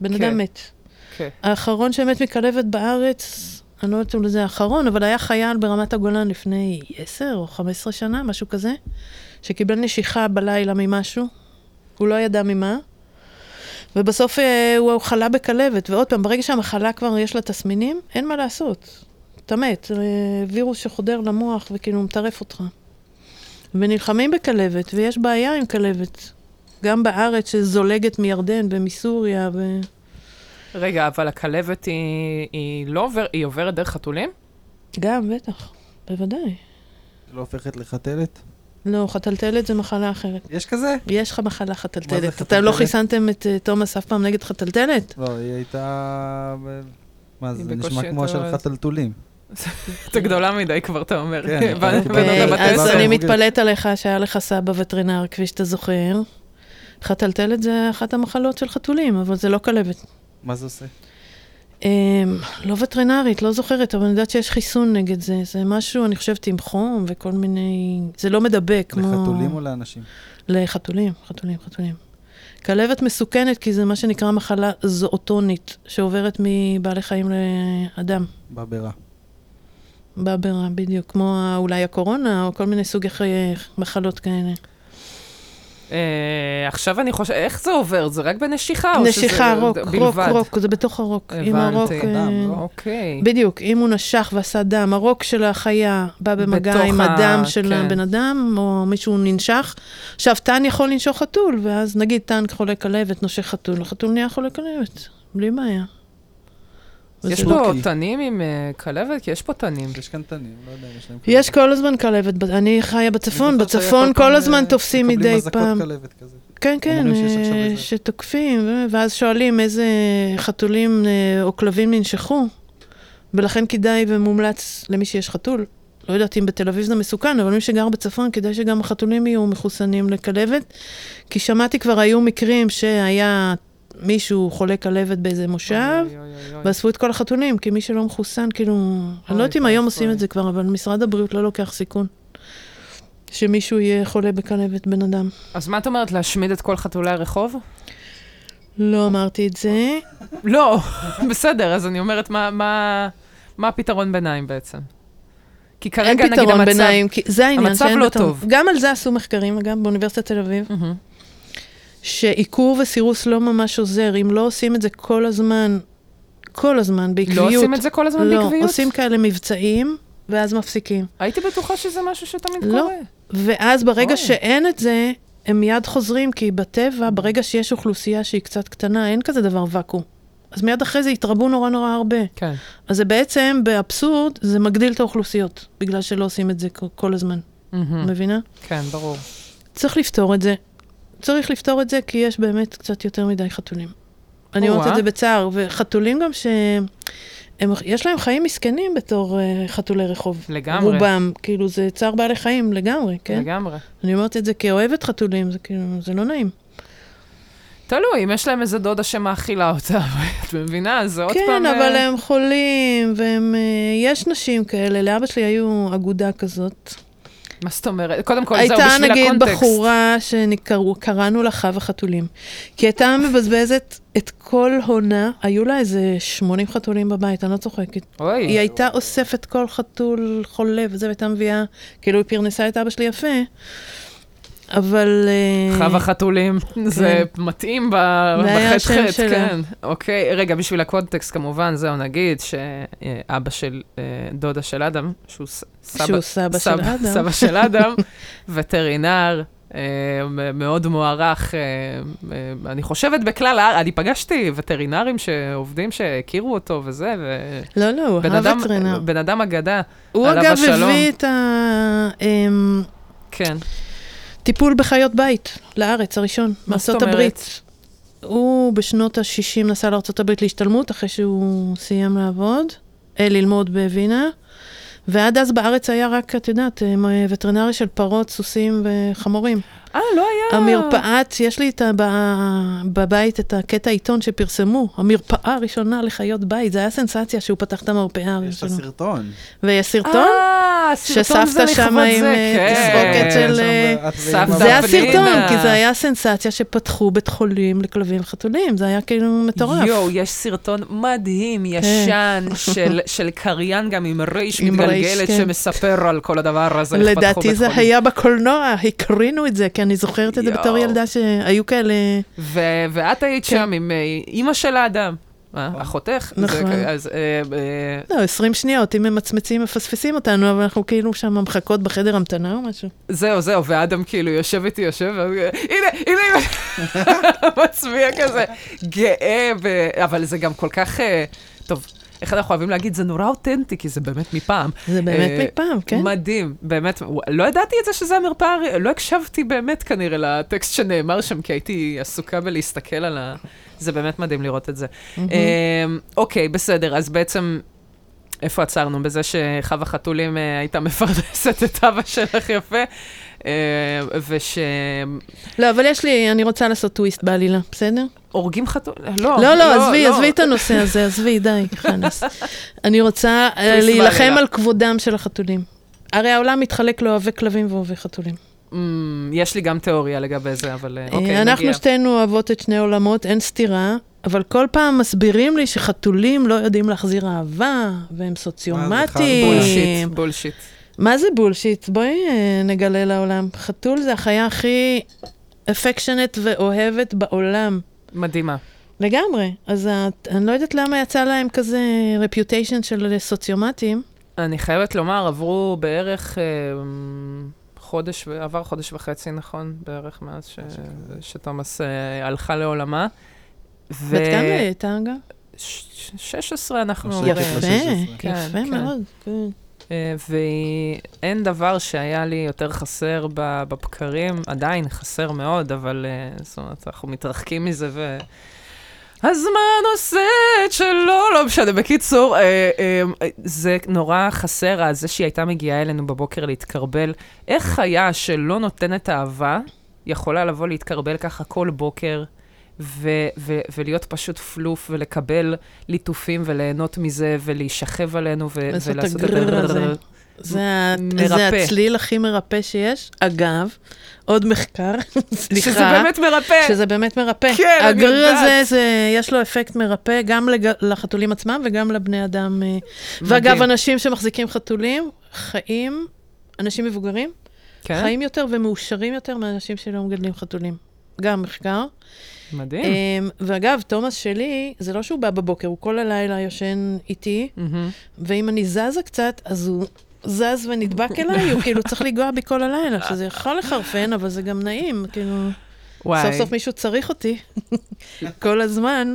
S3: בן
S1: כן.
S3: אדם מת.
S1: כן.
S3: האחרון שמת מכלבת בארץ, אני לא יודעת אם זה האחרון, אבל היה חייל ברמת הגולן לפני 10 או 15 שנה, משהו כזה, שקיבל נשיכה בלילה ממשהו, הוא לא ידע ממה, ובסוף אה, הוא חלה בכלבת, ועוד פעם, ברגע שהמחלה כבר יש לה תסמינים, אין מה לעשות, אתה מת, זה וירוס שחודר למוח וכאילו מטרף אותך. ונלחמים בכלבת, ויש בעיה עם כלבת. גם בארץ שזולגת מירדן ומסוריה ו...
S1: רגע, אבל הכלבת היא, היא לא עובר, היא עוברת דרך חתולים?
S3: גם, בטח, בוודאי.
S2: לא הופכת לחתלת?
S3: לא, חתלתלת זה מחלה אחרת.
S2: יש כזה?
S3: יש לך מחלה
S2: מה זה
S3: חתלתלת. אתם
S2: חתלתלת?
S3: לא חיסנתם את אה, תומאס אף פעם נגד חתלתלת?
S2: לא, היא הייתה... מה זה,
S1: היא
S2: זה נשמע
S1: בקושי
S2: כמו
S1: יותר-
S2: של חתלתולים.
S1: אתה גדולה מדי כבר, אתה אומר.
S2: כן, אני כבר
S1: בן-
S2: קיבלתי
S1: בן-
S2: אותה
S1: בן-
S3: אוקיי,
S2: בבתי
S1: בן-
S3: אז
S2: הספר.
S3: אני מתפלאת עליך שהיה לך סבא וטרינר, כפי שאתה זוכר. חתלתלת זה אחת המחלות של חתולים, אבל זה לא כלבת.
S2: מה זה עושה?
S3: אמ, לא וטרינרית, לא זוכרת, אבל אני יודעת שיש חיסון נגד זה. זה משהו, אני חושבת, עם חום וכל מיני... זה לא מדבק, כמו...
S2: לחתולים או לאנשים?
S3: לחתולים, חתולים, חתולים. כלבת מסוכנת כי זה מה שנקרא מחלה זואוטונית, שעוברת מבעלי חיים לאדם,
S2: בבירה.
S3: באברה, בדיוק, כמו ה- אולי הקורונה, או כל מיני סוגי חיי מחלות כאלה.
S1: אה, עכשיו אני חושבת, איך זה עובר? זה רק בנשיכה? או
S3: נשיכה,
S1: שזה-
S3: רוק, רוק,
S1: בלבד?
S3: רוק, זה בתוך הרוק. אם הרוק...
S1: הבנתי.
S3: אה,
S2: דם, לא?
S1: אוקיי.
S3: בדיוק, אם הוא נשך ועשה דם, הרוק של החיה בא במגע
S1: בתוך
S3: עם
S1: ה-
S3: הדם של
S1: כן.
S3: הבן אדם, או מישהו ננשך. עכשיו, טן יכול לנשוך חתול, ואז נגיד טן חולה כלבת, נושך חתול, החתול נהיה חולה כלבת, בלי בעיה.
S1: יש
S3: וזה
S1: פה
S3: לא-
S2: לוקי.
S1: תנים עם אה, כלבת? כי יש פה תנים.
S2: יש כאן תנים, לא יודע אם יש להם...
S3: יש
S2: כלבת.
S3: כל הזמן כלבת, ב- אני חיה בצפון,
S2: אני זוכר שהיה
S3: בצפון
S2: פעם,
S3: כל
S2: אה,
S3: הזמן תופסים מדי פעם.
S2: מקבלים אזעקות כלבת כזה.
S3: כן, כן,
S2: אומרים שיש עכשיו
S3: אה,
S2: איזה-
S3: שתוקפים, ו- ואז שואלים איזה חתולים אה, או כלבים ננשכו, ולכן כדאי ומומלץ למי שיש חתול. לא יודעת אם בתל אביב זה מסוכן, אבל מי שגר בצפון, כדאי שגם החתולים יהיו מחוסנים לכלבת, כי שמעתי כבר היו מקרים שהיה מישהו חולה כלבת באיזה מושב,
S1: אוי, אוי, אוי, אוי.
S3: ואספו את כל החתולים, כי מי שלא מחוסן, כאילו... אני לא יודעת אם
S1: אוי,
S3: היום
S1: אוי.
S3: עושים את זה כבר, אבל משרד הבריאות לא לוקח סיכון. שמישהו יהיה חולה בכלבת, בן אדם.
S1: אז מה את אומרת, להשמיד את כל חתולי הרחוב?
S3: לא אמרתי את זה.
S1: לא, בסדר, אז אני אומרת, מה- מה מה הפתרון ביניים בעצם? כי כרגע נגיד
S3: אין
S1: המצב...
S3: פתרון ביניים, כי זה העניין.
S1: המצב
S3: שאין
S1: לא
S3: פתרון.
S1: טוב.
S3: גם על זה עשו מחקרים, אגב, באוניברסיטת תל אביב,
S1: מהמם.
S3: שעיקור וסירוס לא ממש עוזר. אם לא עושים את זה כל הזמן, כל הזמן,
S1: לא
S3: בעקביות.
S1: עושים את זה כל הזמן
S3: לא,
S1: בעקביות?
S3: עושים כאלה מבצעים, ואז מפסיקים.
S1: הייתי בטוחה שזה משהו שתמיד
S3: לא.
S1: קורה.
S3: ואז ברגע
S1: אוי.
S3: אוי. שאין את זה, הם מיד חוזרים, כי בטבע, ברגע שיש אוכלוסייה שהיא קצת קטנה, אין כזה דבר ואקום. אז מיד אחרי זה יתרבו נורא נורא הרבה.
S1: כן.
S3: אז זה בעצם, באבסורד, זה מגדיל את האוכלוסיות, בגלל שלא עושים את זה כל- כל הזמן,
S1: Mm. מהמם.
S3: מבינה?
S1: כן, ברור.
S3: צריך לפתור את זה. צריך לפתור את זה, כי יש באמת קצת יותר מדי חתולים. אני אומרת
S1: או-אה.
S3: את זה בצער, וחתולים גם ש... הם, יש להם חיים מסכנים בתור uh, חתולי רחוב.
S1: לגמרי.
S3: רובם, כאילו זה צער בעלי חיים לגמרי, כן? לגמרי.
S1: לגמרי.
S3: אני אומרת את זה כאוהבת חתולים, זה כאילו, זה לא נעים.
S1: תלוי, אם יש להם איזה דודה שמאכילה אותה, את מבינה? זה עוד
S3: כן,
S1: פעם... אה,
S3: אבל הם חולים, והם... אה, יש נשים כאלה, לאבא שלי היו אגודה כזאת.
S1: מה זאת אומרת? קודם כל, זהו, בשביל
S3: הייתה
S1: הקונטקסט.
S3: נגיד בחורה שקראנו לה חווה חתולים, כי הייתה מבזבזת את כל הונה, היו לה איזה 80 חתולים בבית, אני לא צוחקת.
S1: אוי,
S3: היא הייתה אוספת כל חתול חולה וזה, והייתה מביאה, כאילו היא פרנסה את אבא שלי יפה, אבל... אה,
S1: חווה חתולים, זה מתאים ב-
S3: כן. זה היה השם
S1: בחטא חטא,
S3: שלה.
S1: כן. אוקיי, רגע, בשביל הקונטקסט כמובן, זהו, נגיד שאבא של אה, דודה של אדם, שהוא ס- סבא
S3: שהוא סבא של אדם.
S1: סבא של אדם, וטרינר, אה, מ- מאוד מוערך. אה, אה, אני חושבת בכלל, הארץ- אני פגשתי וטרינרים שעובדים שהכירו אותו וזה, ו...
S3: לא, לא, הוא
S1: בן
S3: אהב
S1: אדם, אה,
S3: וטרינר.
S1: בן אדם אגדה,
S3: הוא
S1: עליו
S3: אגב
S1: השלום.
S3: הביא את אמ, הטיפול
S1: כן.
S3: בחיות בית לארץ הראשון,
S1: מה זאת
S3: מארצות
S1: אומרת?
S3: הברית. הוא בשנות ה-60 נסע לארצות הברית להשתלמות, אחרי שהוא סיים לעבוד, אה, ללמוד בווינה. ועד אז בארץ היה רק, את יודעת, אה, מ- וטרינריה של פרות, סוסים וחמורים.
S1: אה, לא היה...
S3: המרפאת, יש לי את ה- ב- בבית את הקטע עיתון שפרסמו, המרפאה הראשונה לחיות בית, זה היה סנסציה שהוא פתח את המרפאה
S2: יש
S3: הראשונה.
S2: לה סרטון.
S3: ויש סרטון?
S1: אה, סרטון זה
S3: שסבתא
S1: לכבוד
S3: שם עם,
S1: זה,
S3: אה,
S1: כן.
S3: תסרוקת של,
S2: שם
S3: אה,
S2: את
S1: סבתא
S2: ועם
S3: זה
S2: הבת.
S3: הסרטון,
S1: פנינה.
S3: כי זה היה סנסציה שפתחו בית חולים לכלבים חתולים, זה היה כאילו מטורף. כן.
S1: יואו, יש סרטון מדהים, ישן, של- של קריין גם עם רייש
S3: עם רייש,
S1: מתגלגלת
S3: כן.
S1: שמספר על כל הדבר הזה. איך פתחו
S3: לדעתי
S1: בית
S3: זה
S1: חולים.
S3: היה בקולנוע, הקרינו את זה, כי אני זוכרת את זה בתור
S1: יואו.
S3: ילדה שהיו כאלה...
S1: ו- ואת היית
S3: כן.
S1: שם עם אה, אימא של האדם. אה,
S2: נכון.
S1: אחותך?
S3: נכון.
S1: זה- אז, אה, אה,
S3: לא, 20 שניות, אם ממצמצים, מפספסים אותנו, אבל אנחנו כאילו שם מחכות בחדר המתנה או משהו.
S1: זהו, זהו, ואדם כאילו יושב איתי, יושב, ואז, הנה, הנה, הנה, מצביע כזה, גאה, ב- אבל זה גם כל כך, אה, טוב, איך אנחנו אוהבים להגיד, זה נורא אותנטי, כי זה באמת מפעם.
S3: זה
S1: אה,
S3: באמת מפעם, כן?
S1: מדהים, באמת, לא ידעתי את זה שזה המרפאה, הר- לא הקשבתי באמת כנראה לטקסט שנאמר שם, כי הייתי עסוקה בלהסתכל על ה... זה באמת מדהים לראות את זה.
S3: מהמם.
S1: אמ, אוקיי, בסדר, אז בעצם, איפה עצרנו? בזה שחווה חתולים אה, הייתה מפרנסת את אבא שלך יפה, אה, ושהורגים
S3: לא, אבל יש לי, אני רוצה לעשות טוויסט בעלילה, בסדר?
S1: חתול... לא,
S3: לא, לא, עזבי, עזבי את הנושא הזה, עזבי, די, חנס. אני רוצה אה,
S1: טוויסט
S3: להילחם
S1: בעלילה.
S3: על כבודם של החתולים. הרי העולם מתחלק לאוהבי כלבים ואוהבי חתולים.
S1: אמ, יש לי גם תיאוריה לגבי זה, אבל אה, אוקיי,
S3: אה,
S1: נגיע.
S3: אנחנו שתינו אוהבות את שני עולמות, אין סתירה, אבל כל פעם מסבירים לי שחתולים לא יודעים להחזיר אהבה, והם
S1: בולשיט,
S3: סוציומטיים.
S1: בולשיט.
S3: מה זה בולשיט? בואי אה, נגלה לעולם. חתול זה החיה הכי אפקשנט ואוהבת בעולם.
S1: מדהימה.
S3: לגמרי. אז את- אני לא יודעת למה יצא להם כזה רפיוטיישן של סוציומטים.
S1: אני חייבת לומר, עברו בערך אמ, חודש, ו- עבר חודש וחצי, נכון? בערך מאז ש-
S2: משהו כזה.
S1: שתומאס אה, הלכה לעולמה. ו-
S3: בת כמה היא הייתה, אגב?
S1: ש- 16 אנחנו
S2: עוסקת
S1: אומרים.
S2: בשש עשרה.
S3: יפה,
S1: כן,
S3: יפה
S1: כן.
S3: מאוד. כן.
S1: אה, ואין דבר שהיה לי יותר חסר ב- בבקרים, עדיין חסר מאוד, אבל אה, זאת אומרת, אנחנו מתרחקים מזה ו... הזמן עושה את שלו, לא משנה. בקיצור, אה, אה, אה, זה נורא חסר, אז זה שהיא הייתה מגיעה אלינו בבוקר להתקרבל. איך חיה שלא נותנת אהבה יכולה לבוא להתקרבל ככה כל בוקר ו- ו- ולהיות פשוט פלוף ולקבל ליטופים וליהנות מזה ולהישכב עלינו ו-
S3: לעשות את
S1: ולעשות
S3: הגרר הזה. זה ה- זה
S1: מרפא.
S3: הצליל הכי מרפא שיש. אגב, עוד מחקר, סליחה.
S1: שזה באמת מרפא.
S3: שזה באמת מרפא.
S1: כן, אני
S3: הגריר
S1: יודעת.
S3: הזה, זה, יש לו אפקט מרפא גם לג... לחתולים עצמם וגם לבני אדם. אה. ואגב, אנשים שמחזיקים חתולים חיים, אנשים מבוגרים,
S1: כן?
S3: חיים יותר ומאושרים יותר מאנשים שלא מגדלים חתולים. גם מחקר.
S1: מדהים.
S3: אמ, ואגב, תומאס שלי, זה לא שהוא בא בבוקר, הוא כל הלילה ישן איתי,
S1: מהמם.
S3: ואם אני זזה קצת, אז הוא זז ונדבק אליי, הוא כאילו צריך לנגוע בי כל
S1: אה.
S3: הלילה, שזה יכול לחרפן, אבל זה גם נעים, כאילו,
S1: וואי,
S3: סוף סוף מישהו צריך אותי כל הזמן.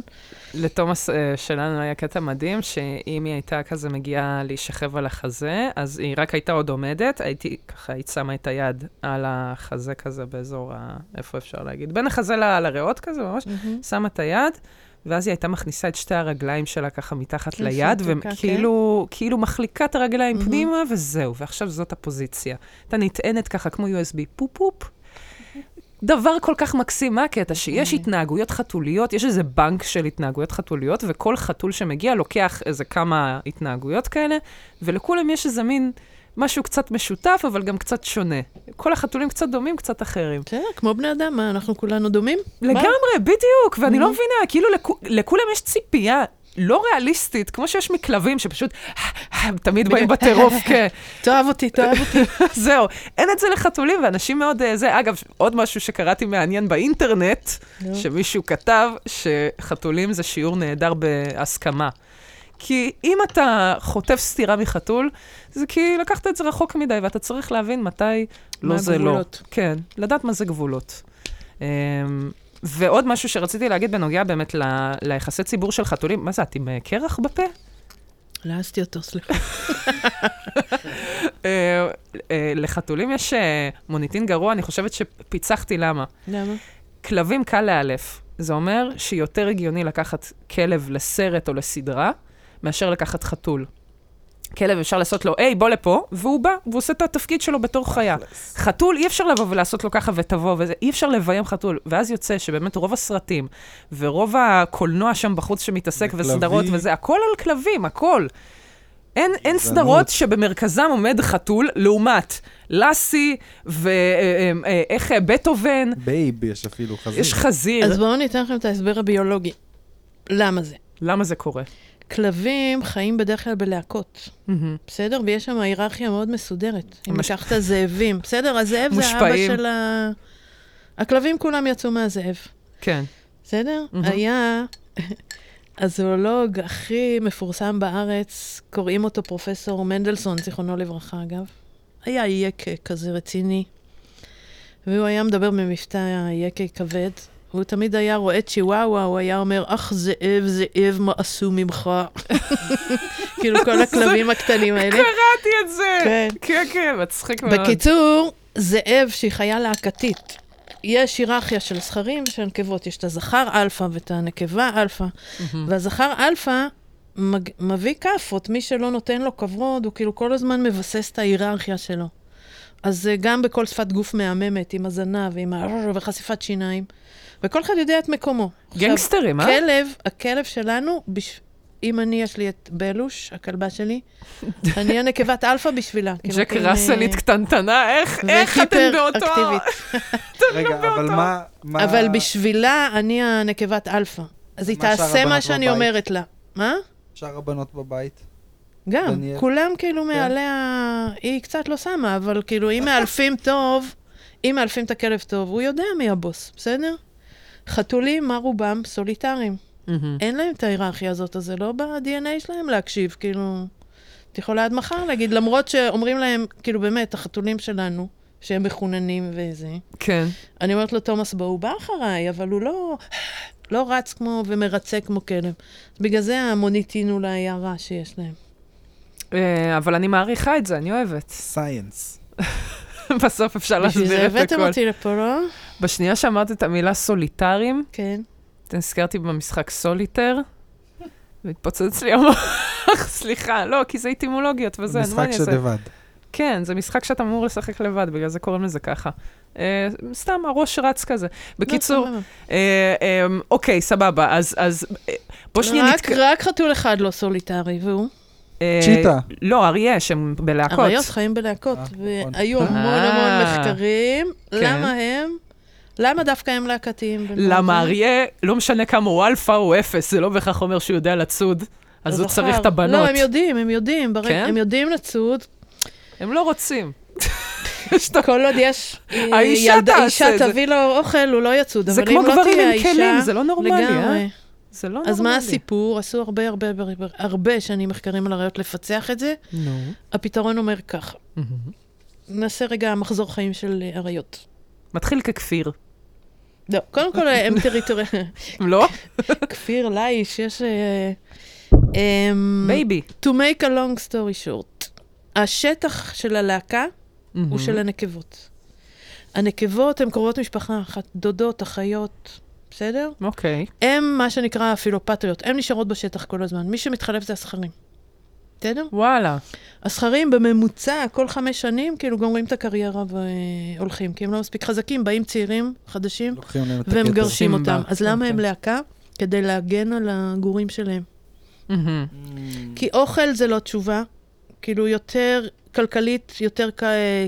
S1: לתומאס אה, שלנו היה קטע מדהים, שאם היא הייתה כזה מגיעה להישכב על החזה, אז היא רק הייתה עוד עומדת, הייתי ככה, היא שמה את היד על החזה כזה באזור ה... איפה אפשר להגיד? בין החזה ל- לריאות כזה, ממש. שמה את היד, ואז היא הייתה מכניסה את שתי הרגליים שלה ככה מתחת
S3: כן,
S1: ליד,
S3: שהיא
S1: וכאילו כאילו מחליקה את הרגליים
S3: מהמם.
S1: פנימה, וזהו, ועכשיו זאת הפוזיציה. הייתה נטענת ככה כמו USB, פופ פופ. דבר כל כך מקסים, מה הקטע? שיש
S3: לגמרי.
S1: התנהגויות חתוליות, יש איזה בנק של התנהגויות חתוליות, וכל חתול שמגיע לוקח איזה כמה התנהגויות כאלה, ולכולם יש איזה מין משהו קצת משותף, אבל גם קצת שונה. כל החתולים קצת דומים, קצת אחרים.
S3: בסדר, כן, כמו בני אדם, מה, אנחנו כולנו דומים?
S1: לגמרי, בדיוק, ואני לא
S3: Mhm.
S1: מבינה, כאילו לכו- לכולם יש ציפייה לא ריאליסטית, כמו שיש מכלבים שפשוט הם תמיד באים בטירוף, כן.
S3: תאהב אותי, תאהב אותי.
S1: זהו, אין את זה לחתולים, ואנשים מאוד אה, זה. אגב, עוד משהו שקראתי מעניין באינטרנט, שמישהו כתב שחתולים זה שיעור נהדר בהסכמה. כי אם אתה חוטף סטירה מחתול, זה כי לקחת את זה רחוק מדי, ואתה צריך להבין מתי לא
S3: מה
S1: זה לא.
S3: הגבולות?
S1: כן, לדעת מה זה גבולות. אמ, ועוד משהו שרציתי להגיד בנוגע באמת ל- ליחסי ציבור של חתולים, מה זה, את עם אה, קרח בפה?
S3: לעסתי אותו, סליחה.
S1: אה, אה, לחתולים יש אה, מוניטין גרוע, אני חושבת שפיצחתי למה.
S3: למה?
S1: כלבים קל לאלף. זה אומר שיותר הגיוני לקחת כלב לסרט או לסדרה, מאשר לקחת חתול. כלב אפשר לעשות לו, היי, בוא לפה, והוא בא, והוא עושה את התפקיד שלו בתור חיה. חתול, אי אפשר לבוא ולעשות לו ככה ותבוא, וזה, אי אפשר לביים חתול. ואז יוצא שבאמת רוב הסרטים, ורוב הקולנוע שם בחוץ שמתעסק
S2: וכלבים.
S1: וסדרות וזה, הכל על כלבים, הכל. אין, אין סדרות שבמרכזם עומד חתול, לעומת לאסי, אה, ואיך אה, בטהובן,
S2: בייב יש אפילו חזיר.
S1: יש חזיר.
S3: אז בואו ניתן לכם את ההסבר הביולוגי. למה זה?
S1: למה זה קורה?
S3: כלבים חיים בדרך כלל בלהקות,
S1: מהמם.
S3: בסדר? ויש שם היררכיה מאוד מסודרת. אם
S1: מש-
S3: לקחת זאבים, בסדר? הזאב זה האבא
S1: מושפעים.
S3: של ה... הכלבים כולם יצאו מהזאב,
S1: כן.
S3: בסדר?
S1: מהמם.
S3: היה הזואולוג הכי מפורסם בארץ, קוראים אותו פרופסור מנדלסון, זיכרונו לברכה, אגב. היה יקה כזה רציני, והוא היה מדבר במבטא יקה כבד. הוא תמיד היה רואה צ'יוואווה, הוא היה אומר, אך זאב, זאב, מה עשו ממך? כאילו כל הכלבים הקטנים האלה.
S1: קראתי את זה!
S3: כן.
S1: כן, כן, מצחיק מאוד.
S3: בקיצור, זאב שהיא חיה להקתית. יש היררכיה של זכרים ושל נקבות, יש את הזכר אלפא ואת הנקבה אלפא,
S1: מהמם.
S3: והזכר אלפא מג... מביא כאפות, מי שלא נותן לו כבוד, הוא כאילו כל הזמן מבסס את ההיררכיה שלו. אז זה גם בכל שפת גוף מהממת, עם הזנב, ועם ה... וחשיפת שיניים, וכל אחד יודע את מקומו. עכשיו,
S1: גנגסטרים, אה?
S3: כלב, הכלב שלנו, בש... אם אני, יש לי את בלוש, הכלבה שלי, אני הנקבת אלפא בשבילה. כאילו,
S1: ג'ק
S3: אתם, אה,
S1: ראסלית קטנטנה, איך איך אתם באותו...
S3: היפר-אקטיבית.
S2: רגע, אבל מה... מה-
S3: אבל בשבילה אני הנקבת אלפא. אז היא
S2: מה שאר
S3: תעשה מה
S2: הבנות
S3: שאני
S2: בבית?
S3: אומרת לה. מה?
S2: שאר הבנות בבית.
S3: גם,
S2: דניאל. כן.
S3: כולם כאילו מעליה, היא קצת לא שמה, אבל כאילו אם מאלפים טוב, אם מאלפים את הכלב טוב, הוא יודע מי הבוס, בסדר? חתולים, מה רובם? סוליטריים.
S1: מהמם.
S3: אין להם את ההיררכיה הזאת, אז זה לא ב-DNA שלהם להקשיב, כאילו... את יכולה עד מחר להגיד, למרות שאומרים להם, כאילו באמת, החתולים שלנו, שהם מחוננים וזה,
S1: כן.
S3: אני אומרת לו, תומאס, בוא, הוא בא אחריי, אבל הוא לא, לא רץ כמו ומרצה כמו כלב. בגלל זה המוניטין אולי הרע שיש להם.
S1: אה, אבל אני מעריכה את זה, אני אוהבת.
S2: סיינס.
S1: בסוף אפשר
S3: בשביל זה
S1: להסביר את
S3: הבאתם
S1: הכל.
S3: אותי לפה, לא?
S1: בשנייה שאמרת את המילה סוליטרים,
S3: כן.
S1: נזכרתי במשחק סוליטר, והתפוצץ לי המוח, סליחה, לא, כי זה איטימולוגיות וזה, אז מה
S2: משחק
S1: אני אעשה?
S2: שלבד.
S1: כן, זה משחק שאתה אמור לשחק לבד, בגלל זה קוראים לזה ככה. אה, סתם, הראש רץ כזה. בקיצור,
S3: לא, סבבה.
S1: אה, אה, אוקיי, סבבה, אז- אז אה, בוא שנייה
S3: רק-
S1: נתק...
S3: רק חתול אחד לא סוליטרי, והוא.
S1: אה,
S2: צ'יטה.
S1: לא, אריה, שהם בלהקות.
S3: אריות חיים בלהקות,
S2: אה, נכון.
S3: והיו המון
S1: אה.
S3: המון מחקרים.
S1: כן.
S3: למה הם? למה דווקא הם להקתיים? ומה
S1: למה
S3: זה?
S1: אריה, לא משנה כמה הוא אלפא או אפס, זה לא בהכרח אומר שהוא יודע לצוד, אז הוא
S3: הזכר.
S1: צריך את הבנות.
S3: לא, הם יודעים, הם יודעים. ברק-
S1: כן?
S3: הם יודעים לצוד.
S1: הם לא רוצים.
S3: כל עוד יש אה,
S1: האישה
S3: ילדה-
S1: תעשה
S3: אישה
S1: את זה.
S3: תביא לו אוכל, הוא לא יצוד.
S1: זה
S3: אבל
S1: כמו
S3: אם לא
S1: גברים
S3: תהיה
S1: עם
S3: האישה-
S1: כלים, זה לא נורמלי,
S3: לגמרי.
S1: אה? זה לא נורמלי.
S3: אז מה הסיפור? עשו הרבה הרבה הרבה- הרבה שנים מחקרים על הראיות לפצח את זה.
S1: נו.
S3: הפתרון אומר ככה, נעשה רגע מחזור חיים של אה, אריות.
S1: מתחיל ככפיר,
S3: לא, קודם כל אה, הם טריטוריה...
S1: לא?
S3: Mm. כפיר לייש, יש... אה, אמ,
S1: בייבי.
S3: To make a long story short, השטח של הלהקה הוא
S1: Mm-hmm.
S3: של הנקבות. הנקבות הן קרובות משפחה אחת, דודות, אחיות, בסדר?
S1: אוקיי.
S3: הן מה שנקרא הפילופטריות, הן נשארות בשטח כל הזמן. מי שמתחלף זה הזכרים. בסדר?
S1: וואלה.
S3: הזכרים בממוצע, כל חמש שנים, כאילו גומרים את הקריירה והולכים, כי הם לא מספיק חזקים, באים צעירים חדשים
S2: לוקחים להם את
S3: והם
S2: הכתר.
S3: מגרשים
S1: עושים
S3: אותם.
S1: בה,
S3: אז
S1: כן,
S3: למה
S1: כן.
S3: הם להקה? כדי להגן על הגורים שלהם.
S1: מהמם.
S2: Mm,
S3: כי אוכל זה לא תשובה. כאילו, יותר כלכלית, יותר כ...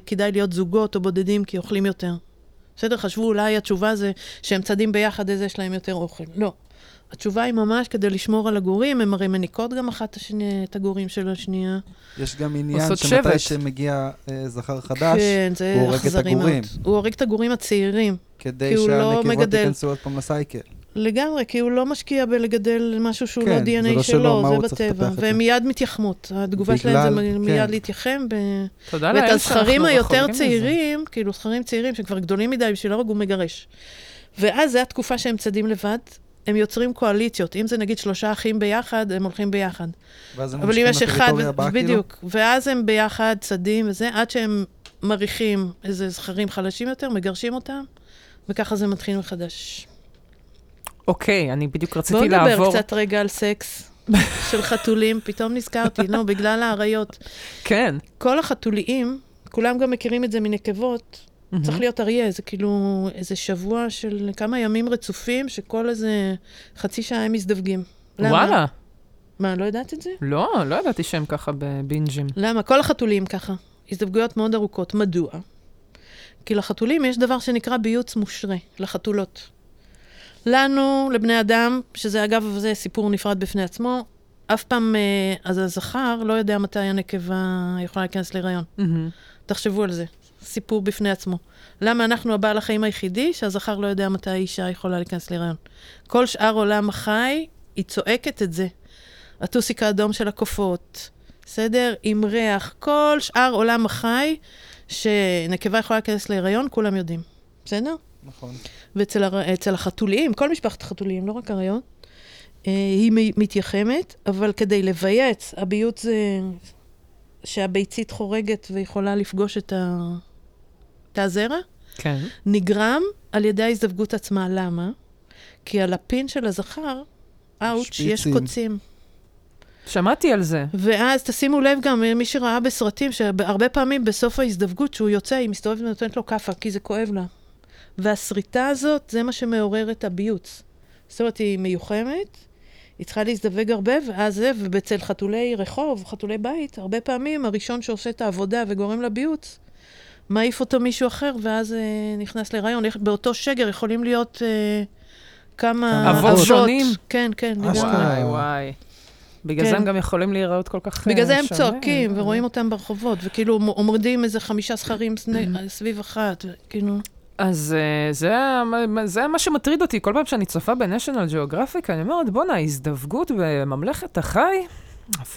S3: כדאי להיות זוגות או בודדים, כי אוכלים יותר. בסדר? חשבו, אולי התשובה זה שהם צדים ביחד, אז יש להם יותר אוכל. לא. התשובה היא ממש כדי לשמור על הגורים, הם הרי מניקות גם אחת את השני- את הגורים של השנייה.
S2: יש גם עניין
S1: עושות
S2: שמתי
S1: שבט.
S2: שמגיע אה, זכר חדש,
S3: כן, זה
S2: הוא הורג את
S3: אכזרי מאוד.
S2: הגורים.
S3: הוא הורג את הגורים הצעירים.
S2: כדי
S3: כי הוא לא
S2: שהנקבות
S3: מגדל.
S2: ייכנסו עוד פעם לסייקל.
S3: לגמרי, כי הוא לא משקיע בלגדל משהו שהוא לא
S2: כן, זה
S3: DNA
S2: לא שלו, מה
S3: שלו,
S2: הוא
S3: זה
S2: צריך
S3: בטבע.
S2: לטפח את זה?
S3: והן מיד מתייחמות. התגובה שלהם זה
S2: בגלל- כן.
S3: מיד להתייחם. ב-
S1: תודה לאל
S3: ואת
S1: שאנחנו רחוקים
S3: הזכרים היותר
S1: מזה.
S3: צעירים, כאילו זכרים צעירים שכבר גדולים מדי בשביל להרוג, הוא מגרש. ואז זו התקופה שהם צדים לבד, הם יוצרים קואליציות. אם זה נגיד שלושה אחים ביחד, הם הולכים ביחד.
S2: ואז הם
S3: אבל אם
S2: ממשיכים
S3: יש אחד,
S2: לטריטוריה הבאה, כאילו?
S3: בדיוק. ואז הם ביחד צדים וזה, עד שהם מריחים איזה זכרים חלשים יותר, מגרשים אותם, וככה זה מתחיל מחדש.
S1: אוקיי, אני בדיוק
S3: בואו
S1: רציתי
S3: נדבר
S1: לעבור.
S3: קצת רגע על סקס של חתולים, פתאום נזכרתי, לא, בגלל האריות.
S1: כן.
S3: כל החתוליים, כולם גם מכירים את זה מנקבות,
S1: Mm-hmm.
S3: צריך להיות אריה, זה כאילו איזה שבוע של כמה ימים רצופים, שכל איזה חצי שעה הם מזדווגים. למה?
S1: וואלה.
S3: מה, לא ידעת את זה?
S1: לא, לא ידעתי שהם ככה בבינג'ים.
S3: למה? כל החתולים ככה. הזדווגויות מאוד ארוכות. מדוע? כי לחתולים יש דבר שנקרא ביוץ מושרה, לחתולות. לנו, לבני אדם, שזה אגב, זה סיפור נפרד בפני עצמו, אף פעם, אה, אז הזכר לא יודע מתי הנקבה יכולה להיכנס להיריון.
S1: מהמם.
S3: תחשבו על זה, סיפור בפני עצמו. למה אנחנו הבעל החיים היחידי שהזכר לא יודע מתי האישה יכולה להיכנס להיריון? כל שאר עולם החי, היא צועקת את זה. הטוסיק האדום של הקופות, בסדר? עם ריח, כל שאר עולם החי, שנקבה יכולה להיכנס להיריון, כולם יודעים, בסדר?
S2: נכון.
S3: ואצל הר... אצל החתוליים, כל משפחת החתוליים, לא רק אריות, אה, היא מ- מתייחמת, אבל כדי לבייץ, הביוץ זה שהביצית חורגת ויכולה לפגוש את, ה... את הזרע,
S1: כן.
S3: נגרם על ידי ההזדווגות עצמה. למה? כי על הפין של הזכר, אאוץ', יש
S2: שפיצים.
S3: קוצים.
S1: שמעתי על זה.
S3: ואז תשימו לב גם, אה, מי שראה בסרטים, שהרבה פעמים בסוף ההזדווגות, שהוא יוצא, היא מסתובבת ונותנת לו כאפה, כי זה כואב לה. והשריטה הזאת, זה מה שמעורר את הביוץ. זאת אומרת, היא מיוחמת, היא צריכה להזדווג הרבה, ואז זה, ובצל חתולי רחוב, חתולי בית, הרבה פעמים הראשון שעושה את העבודה וגורם לביוץ, מעיף אותו מישהו אחר, ואז אה, נכנס להיריון. איך- באותו שגר יכולים להיות אה, כמה
S2: כמה
S1: אבות אה, שונים?
S3: כן, כן,
S2: אשכרה.
S3: לגמרי.
S1: וואי, וואי. בגלל
S3: כן.
S1: זה הם גם יכולים להיראות כל כך... אה,
S3: בגלל זה הם
S1: שונה.
S3: צועקים ורואים אותם ברחובות, וכאילו מ- עומדים איזה חמישה זכרים
S1: Mm-hmm.
S3: סני- סביב אחת, כאילו...
S1: אז אה, זה ה- זה מה שמטריד אותי. כל פעם שאני צופה בניישנל ג'אוגרפיק, אני אומרת, בואנה, ההזדווגות בממלכת החי,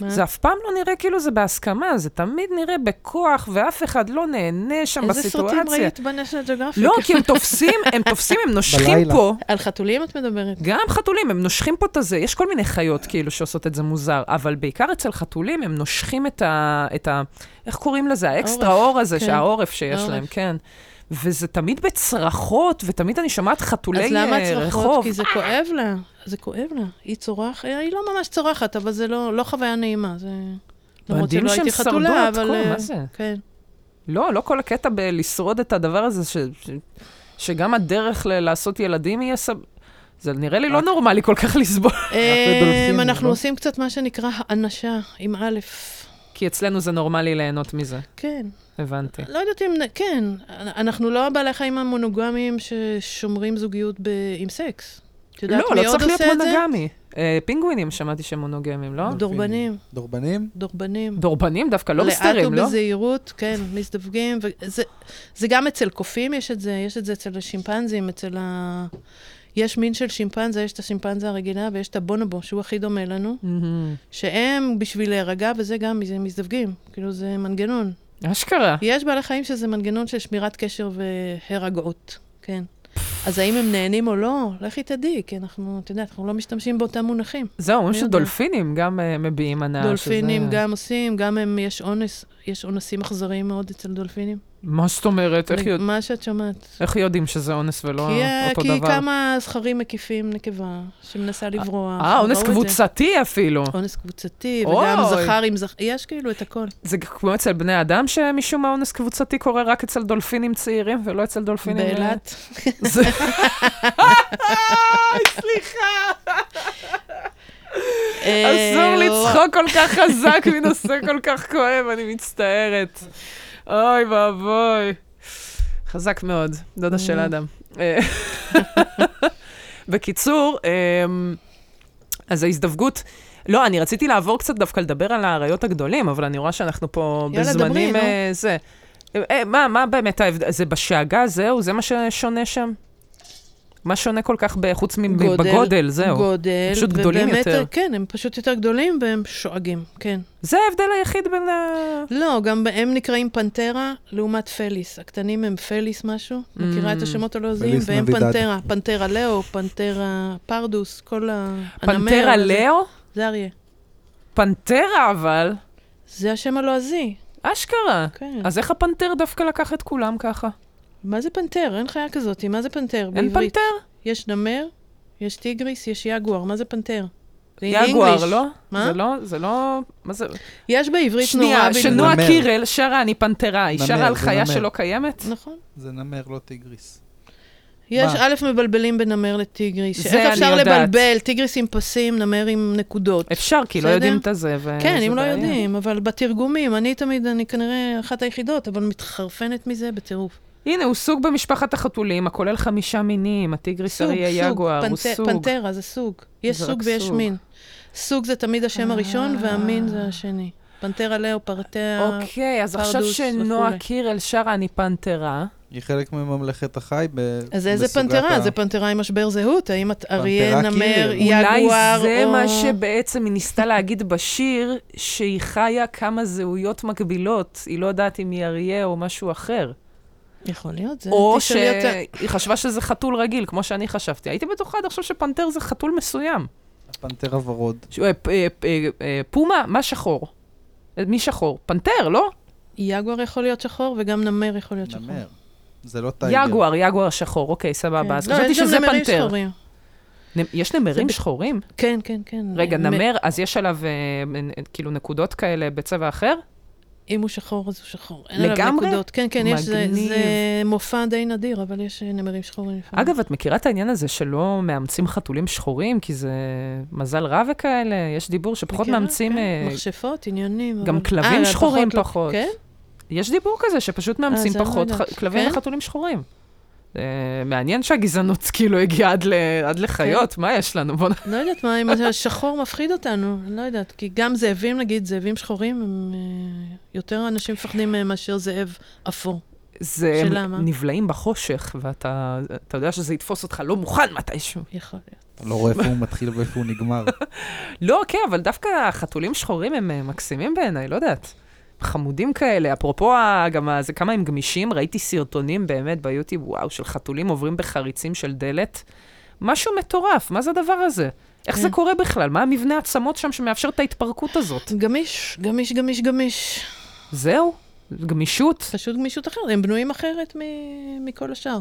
S3: מה?
S1: זה אף פעם לא נראה כאילו זה בהסכמה, זה תמיד נראה בכוח, ואף אחד לא נהנה שם
S3: איזה סרטים
S1: בסיטואציה.
S3: ראית בנשנל ג'וגרפיק?
S1: לא, כי הם תופסים, הם תופסים, הם נושכים
S2: בלילה.
S1: פה.
S3: על חתולים את מדברת?
S1: גם חתולים, הם נושכים פה את הזה, יש כל מיני חיות כאילו שעושות את זה מוזר, אבל בעיקר אצל חתולים הם נושכים את ה... את ה איך קוראים לזה? האקסטרה
S3: העורף,
S1: אור הזה,
S3: כן.
S1: שהעורף שיש
S3: העורף.
S1: להם, כן. וזה תמיד בצרחות, ותמיד אני שומעת חתולי
S3: אז למה
S1: אה,
S3: הצרחות?
S1: רחוב.
S3: כי זה כואב לה. זה כואב לה. היא צורחת, היא לא ממש צורחת, אבל זה לא לא חוויה נעימה. זה... למרות
S1: מדהים
S3: שלא
S1: שהם
S3: הייתי
S1: שרדו
S3: חתולה,
S1: עד כה,
S3: אבל... אה,
S1: מה זה?
S3: כן.
S1: לא, לא כל הקטע בלשרוד את הדבר הזה, ש, ש, שגם הדרך ל- לעשות ילדים יהיה סב... זה נראה לי לא
S2: רק-
S1: נורמלי כל כך לסבול.
S3: אמ,
S2: דולפינים,
S3: אנחנו
S2: לא?
S3: עושים קצת מה שנקרא האנשה, עם א'.
S1: כי אצלנו זה נורמלי ליהנות מזה,
S3: כן.
S1: הבנתי.
S3: לא יודעת אם, נ- כן, אנ- אנחנו לא הבעלי חיים המונוגמים ששומרים זוגיות ב... עם סקס. את יודעת
S1: לא,
S3: מי
S1: לא
S3: עוד
S1: צריך להיות
S3: עושה את זה?
S1: מונוגמי. אה, פינגווינים, שמעתי שהם מונוגמים, לא?
S3: דורבנים,
S2: אוקיי. דורבנים?
S3: דורבנים.
S1: דורבנים דווקא, לא בסתרים,
S3: לאט
S1: לא?
S3: ובזהירות, כן, מזדווגים. וזה, זה גם אצל קופים יש את זה, יש את זה אצל השימפנזים, אצל ה... יש מין של שימפנזה, יש את השימפנזה הרגילה ויש את הבונובו, שהוא הכי דומה לנו,
S1: מהמם.
S3: שהם בשביל להירגע, וזה גם מזה- מזדווגים. כאילו, זה מנגנון.
S1: אשכרה.
S3: יש בעלי חיים שזה מנגנון של שמירת קשר והירגעות, כן. אז האם הם נהנים או לא? לכי תדעי, כי אנחנו, את יודעת, אנחנו לא משתמשים באותם מונחים.
S1: זהו, אומרים
S3: מי לא יודע?
S1: שדולפינים גם אה, מביעים הנאה.
S3: דולפינים
S1: אה, שזה-
S3: גם עושים, גם הם, יש אונס, יש אונסים אכזריים מאוד אצל דולפינים.
S1: מה זאת אומרת? איך
S3: אני-
S1: יודע-
S3: מה שאת שומעת.
S1: איך יודעים שזה אונס ולא
S3: כי, אה,
S1: אותו
S3: כי
S1: דבר?
S3: כמה זכרים מקיפים נקבה שמנסה לברוח.
S1: אה, אונס
S3: ראו את זה.
S1: קבוצתי אפילו.
S3: אונס קבוצתי,
S1: אוי.
S3: וגם זכר עם זכר, יש כאילו את הכל.
S1: זה כמו אצל בני אדם, שמשום מה אונס קבוצתי קורה רק אצל דולפינים צעירים ולא אצל דולפינים... אה,
S3: באילת.
S1: זה- סליחה,
S3: אה,
S1: אסור לצחוק כל כך
S3: לא.
S1: חזק מנושא כל כך כואב, אני מצטערת. אוי ואבוי. חזק מאוד, דודה של אדם. אה, בקיצור, אמ, אז ההזדווגות... לא, אני רציתי לעבור קצת דווקא לדבר על האריות הגדולים, אבל אני רואה שאנחנו פה
S3: יאללה,
S1: בזמנים...
S3: דברי,
S1: אה, זה. אה, מה, מה באמת ההבדל? זה בשאגה, זהו? זה מה ששונה שם? מה שונה כל כך, ב- חוץ
S3: גודל,
S1: מבגודל, זהו.
S3: גודל.
S1: פשוט גדולים
S3: ובאמת,
S1: יותר.
S3: כן, הם פשוט יותר גדולים והם שואגים, כן.
S1: זה ההבדל היחיד בין ה...
S3: לא, גם הם נקראים פנטרה לעומת פליס. הקטנים הם פליס משהו,
S1: Mm.
S3: מכירה את השמות הלועזיים?
S2: פליס
S3: והם
S2: נבידד.
S3: פנטרה, פנטרה לאו, פנטרה פרדוס, כל הנמר.
S1: פנטרה
S3: הזה.
S1: לאו?
S3: זה אריה.
S1: פנטרה אבל,
S3: זה השם הלועזי,
S1: אשכרה.
S3: כן.
S1: אז איך הפנתר דווקא לקח את כולם ככה?
S3: מה זה פנתר? אין חיה כזאת, מה זה פנתר
S1: אין
S3: בעברית?
S1: פנתר?
S3: יש נמר, יש טיגריס, יש יגואר, מה זה פנתר? זה
S1: יגואר,
S3: English.
S1: לא?
S3: מה?
S1: זה לא, זה לא... מה זה?
S3: יש בעברית נורא...
S1: שנייה,
S3: בדיוק.
S1: שנועה
S2: נמר.
S1: קירל שרה אני פנתרה, היא
S2: נמר,
S1: שרה על
S2: זה
S1: חיה
S2: נמר.
S1: שלא קיימת?
S3: נכון.
S2: זה נמר, לא טיגריס.
S3: יש
S2: מה?
S3: א' מבלבלים בין נמר לטיגריס.
S1: זה
S3: איך
S1: אני
S3: אפשר
S1: יודעת.
S3: לבלבל? טיגריס עם פסים, נמר עם נקודות.
S1: אפשר, כי לא
S3: בסדר?
S1: יודעים את הזה, ו...
S3: כן,
S1: זה
S3: אם לא
S1: בעיה.
S3: יודעים, אבל בתרגומים, אני תמיד, אני כנראה אחת היחידות, אבל מתחרפנת מזה בטירוף.
S1: הנה, הוא סוג במשפחת החתולים, הכולל חמישה מינים, הטיגריס,
S3: סוג,
S1: אריה,
S3: סוג,
S1: יגואר, הוא
S3: פנט-
S1: סוג.
S3: פנטרה זה סוג. יש
S1: זה
S3: סוג
S1: רק
S3: ויש
S1: סוג.
S3: מין. סוג זה תמיד השם
S1: אה.
S3: הראשון, והמין זה השני. פנטרה לאו, פרטיה...
S1: אוקיי, אז עכשיו
S3: פרדוס
S1: שנועה
S3: וכולי.
S1: קירל שרה אני פנתרה,
S2: היא חלק מממלכת החי ב...
S3: אז איזה
S2: בסוגת
S3: פנתרה?
S2: ה- כאילו.
S3: זה פנתרה עם משבר זהות? האם את אריה, נמר,
S2: קירל.
S1: אולי
S3: יגואר, או...
S1: זה מה שבעצם היא ניסתה להגיד בשיר, שהיא חיה כמה זהויות מקבילות, היא לא יודעת אם היא אריה או משהו אחר.
S3: יכול להיות, זה...
S1: או
S3: תשאלי אותה.
S1: שהיא חשבה שזה חתול רגיל, כמו שאני חשבתי. הייתי בטוחה עד עכשיו שפנתר זה חתול מסוים.
S2: הפנתר הוורוד.
S1: ש- אה, פ- אה, אה, אה, פומה, מה שחור? אה, מי שחור? פנתר, לא?
S3: יגואר יכול להיות שחור, וגם נמר יכול להיות שחור.
S2: נמר. זה לא טייגר.
S1: יגואר, יגואר שחור, אוקיי,
S3: כן.
S1: סבבה. אז
S3: לא,
S1: חשבתי
S3: יש גם
S1: שזה
S3: נמרים
S1: פנתר.
S3: שחורים.
S1: נ- יש נמרים
S3: זה ב-
S1: שחורים?
S3: כן, כן, כן.
S1: רגע,
S3: מ-
S1: נמר, אז יש עליו אה, נ- נ- כאילו נקודות כאלה בצבע אחר?
S3: אם הוא שחור, אז הוא שחור. אין עליו
S1: לגמרי?
S3: נקודות. כן, כן, יש, זה,
S1: מגניב.
S3: זה מופע די נדיר, אבל יש אה, נמרים שחורים. לפעמים.
S1: אגב, את מכירה את העניין הזה שלא מאמצים חתולים שחורים, כי זה מזל רע וכאלה? יש דיבור שפחות
S3: מכירה?
S1: מאמצים...
S3: כן.
S1: אה,
S3: מכשפות, עניינים.
S1: גם
S3: אבל-
S1: כלבים
S3: אה, אבל
S1: שחורים
S3: לא-
S1: פחות.
S3: כן?
S1: יש דיבור כזה שפשוט מאמצים
S3: זה לא
S1: פחות
S3: יודעת.
S1: ח- כלבים
S3: כן?
S1: וחתולים שחורים. אה, מעניין שהגזענות כאילו הגיעה עד ל-
S3: כן.
S1: עד לחיות, מה יש לנו? בוא נ...
S3: לא יודעת מה, אם השחור מפחיד אותנו, אני לא יודעת. כי גם זאבים, נגיד, זאבים שחורים, הם... אה, יותר אנשים מפחדים מהם מאשר זאב אפור.
S1: זה
S3: שאלה, מה?
S1: נבלעים בחושך, ואתה אתה יודע שזה יתפוס אותך לא מוכן מתישהו.
S3: יכול להיות.
S2: אתה לא רואה איפה הוא מתחיל ואיפה הוא נגמר.
S1: לא, כן, אבל דווקא החתולים שחורים הם אה, מקסימים בעיניי, לא יודעת. חמודים כאלה, אפרופו ה- גם ה- זה כמה הם גמישים, ראיתי סרטונים באמת ביוטיוב, וואו, של חתולים עוברים בחריצים של דלת. משהו מטורף, מה זה הדבר הזה? איך זה
S3: כן.
S1: קורה בכלל? מה המבנה העצמות שם שמאפשר את ההתפרקות הזאת?
S3: גמיש, גמיש, גמיש, גמיש.
S1: זהו, גמישות.
S3: פשוט גמישות אחרת, הם בנויים אחרת מ... מכל השאר.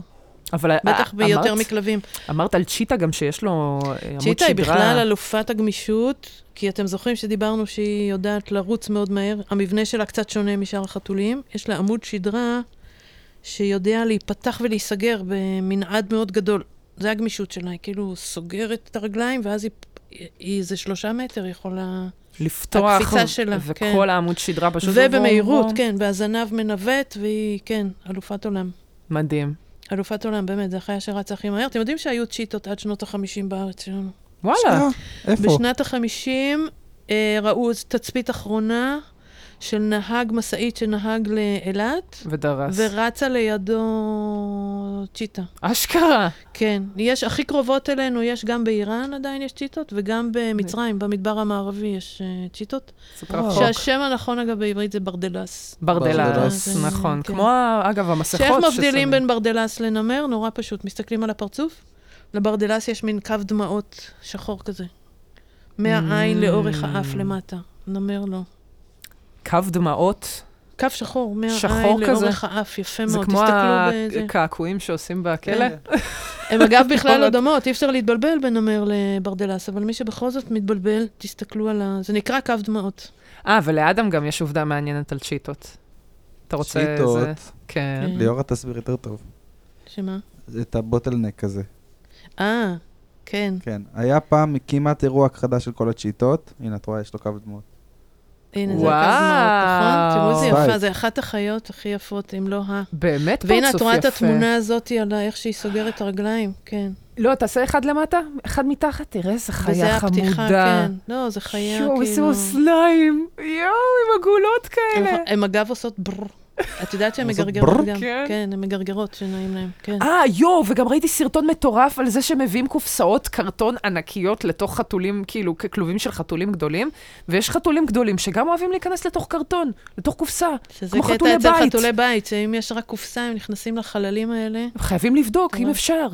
S1: אבל
S3: בטח
S1: אה,
S3: ביותר
S1: אמרת-
S3: מכלבים.
S1: אמרת על צ'יטה גם שיש לו אה, עמוד שדרה.
S3: צ'יטה היא בכלל אלופת הגמישות, כי אתם זוכרים שדיברנו שהיא יודעת לרוץ מאוד מהר. המבנה שלה קצת שונה משאר החתולים. יש לה עמוד שדרה שיודע להיפתח ולהיסגר במנעד מאוד גדול. זה הגמישות שלה, היא כאילו סוגרת את הרגליים, ואז היא, היא איזה שלושה מטר יכולה...
S1: לפתוח.
S3: הקפיצה שלה, כן.
S1: וכל העמוד שדרה פשוט... עבור-
S3: ובמהירות,
S1: עבור.
S3: כן, והזנב מנווט, והיא, כן, אלופת עולם.
S1: מדהים.
S3: אלופת עולם, באמת, זו החיה שרצה הכי מהר. אתם יודעים שהיו צ'יטות עד שנות החמישים בארץ שלנו.
S1: וואלה.
S2: איפה?
S3: בשנת החמישים אה, ראו איזו תצפית אחרונה של נהג משאית שנהג לאילת,
S1: ודרס.
S3: ורצה לידו צ'יטה.
S1: אשכרה.
S3: כן, יש הכי קרובות אלינו, יש גם באיראן עדיין יש צ'יטות, וגם במצרים, במדבר המערבי יש אה, צ'יטות.
S1: סופר חוק.
S3: שהשם הנכון, אגב, בעברית זה ברדלס.
S1: ברדלס,
S2: ברדלס,
S1: נכון.
S3: כן.
S1: כמו, ה- אגב, המסכות
S3: שאיך מבדילים
S1: ששמים.
S3: בין ברדלס לנמר? נורא פשוט. מסתכלים על הפרצוף, לברדלס יש מין קו דמעות שחור כזה.
S1: Mm.
S3: מהעין לאורך האף למטה. נמר לא.
S1: קו דמעות,
S3: קו שחור,
S1: שחור
S3: מהעין
S1: כזה?
S3: לאורך האף, יפה
S1: זה
S3: מאוד.
S1: כמו
S3: תסתכלו בזה.
S1: הקעקועים שעושים בכלא.
S3: כן. הן אגב בכלל לא
S1: ביקורת.
S3: דומות, אי אפשר להתבלבל בין נמר לברדלס, אבל מי שבכל זאת מתבלבל, תסתכלו על ה... זה נקרא קו דמעות.
S1: אה, ולאדם גם יש עובדה מעניינת על צ'יטות. אתה רוצה... זה-
S2: צ'יטות.
S1: כן.
S3: כן.
S2: ליאורה תסביר יותר טוב.
S3: שמה?
S2: את הבוטלנק הזה.
S3: אה, כן.
S2: כן. היה פעם כמעט אירוע הכחדה של כל הצ'יטות. הנה, את רואה, יש לו קו דמות.
S3: הנה, זה
S1: וואו.
S3: הקו דמעות, נכון? תראו איזה
S2: וואי.
S3: יפה, זה אחת החיות הכי יפות, אם לא ה...
S1: באמת פרצוף יפה.
S3: והנה, את רואה את התמונה הזאת על ה- איך שהיא סוגרת את הרגליים, כן.
S1: לא, תעשה אחד למטה, אחד מתחת, תראה איזה
S3: וזה
S1: חיה חמודה.
S3: הפתיחה, כן. לא, זה חיה,
S1: יואו, איזה
S3: כאילו...
S1: אוזניים, יואו, עם עגולות כאלה.
S3: הן אגב עושות ברר. את יודעת שהן
S2: לעשות
S3: מגרגרות
S2: בררר?
S3: גם.
S1: כן.
S3: כן, הן מגרגרות שנעים להן, כן.
S1: אה, יואו, וגם ראיתי סרטון מטורף על זה שמביאים קופסאות קרטון ענקיות לתוך חתולים, כאילו, כלובים של חתולים גדולים, ויש חתולים גדולים שגם אוהבים להיכנס לתוך קרטון, לתוך קופסה.
S3: שזה
S1: כמו
S3: קטע
S1: חתולי
S3: אצל
S1: בית.
S3: חתולי בית, שאם יש רק קופסה, הם נכנסים לחללים האלה.
S1: הם חייבים לבדוק, אם
S3: ממש.
S1: אפשר.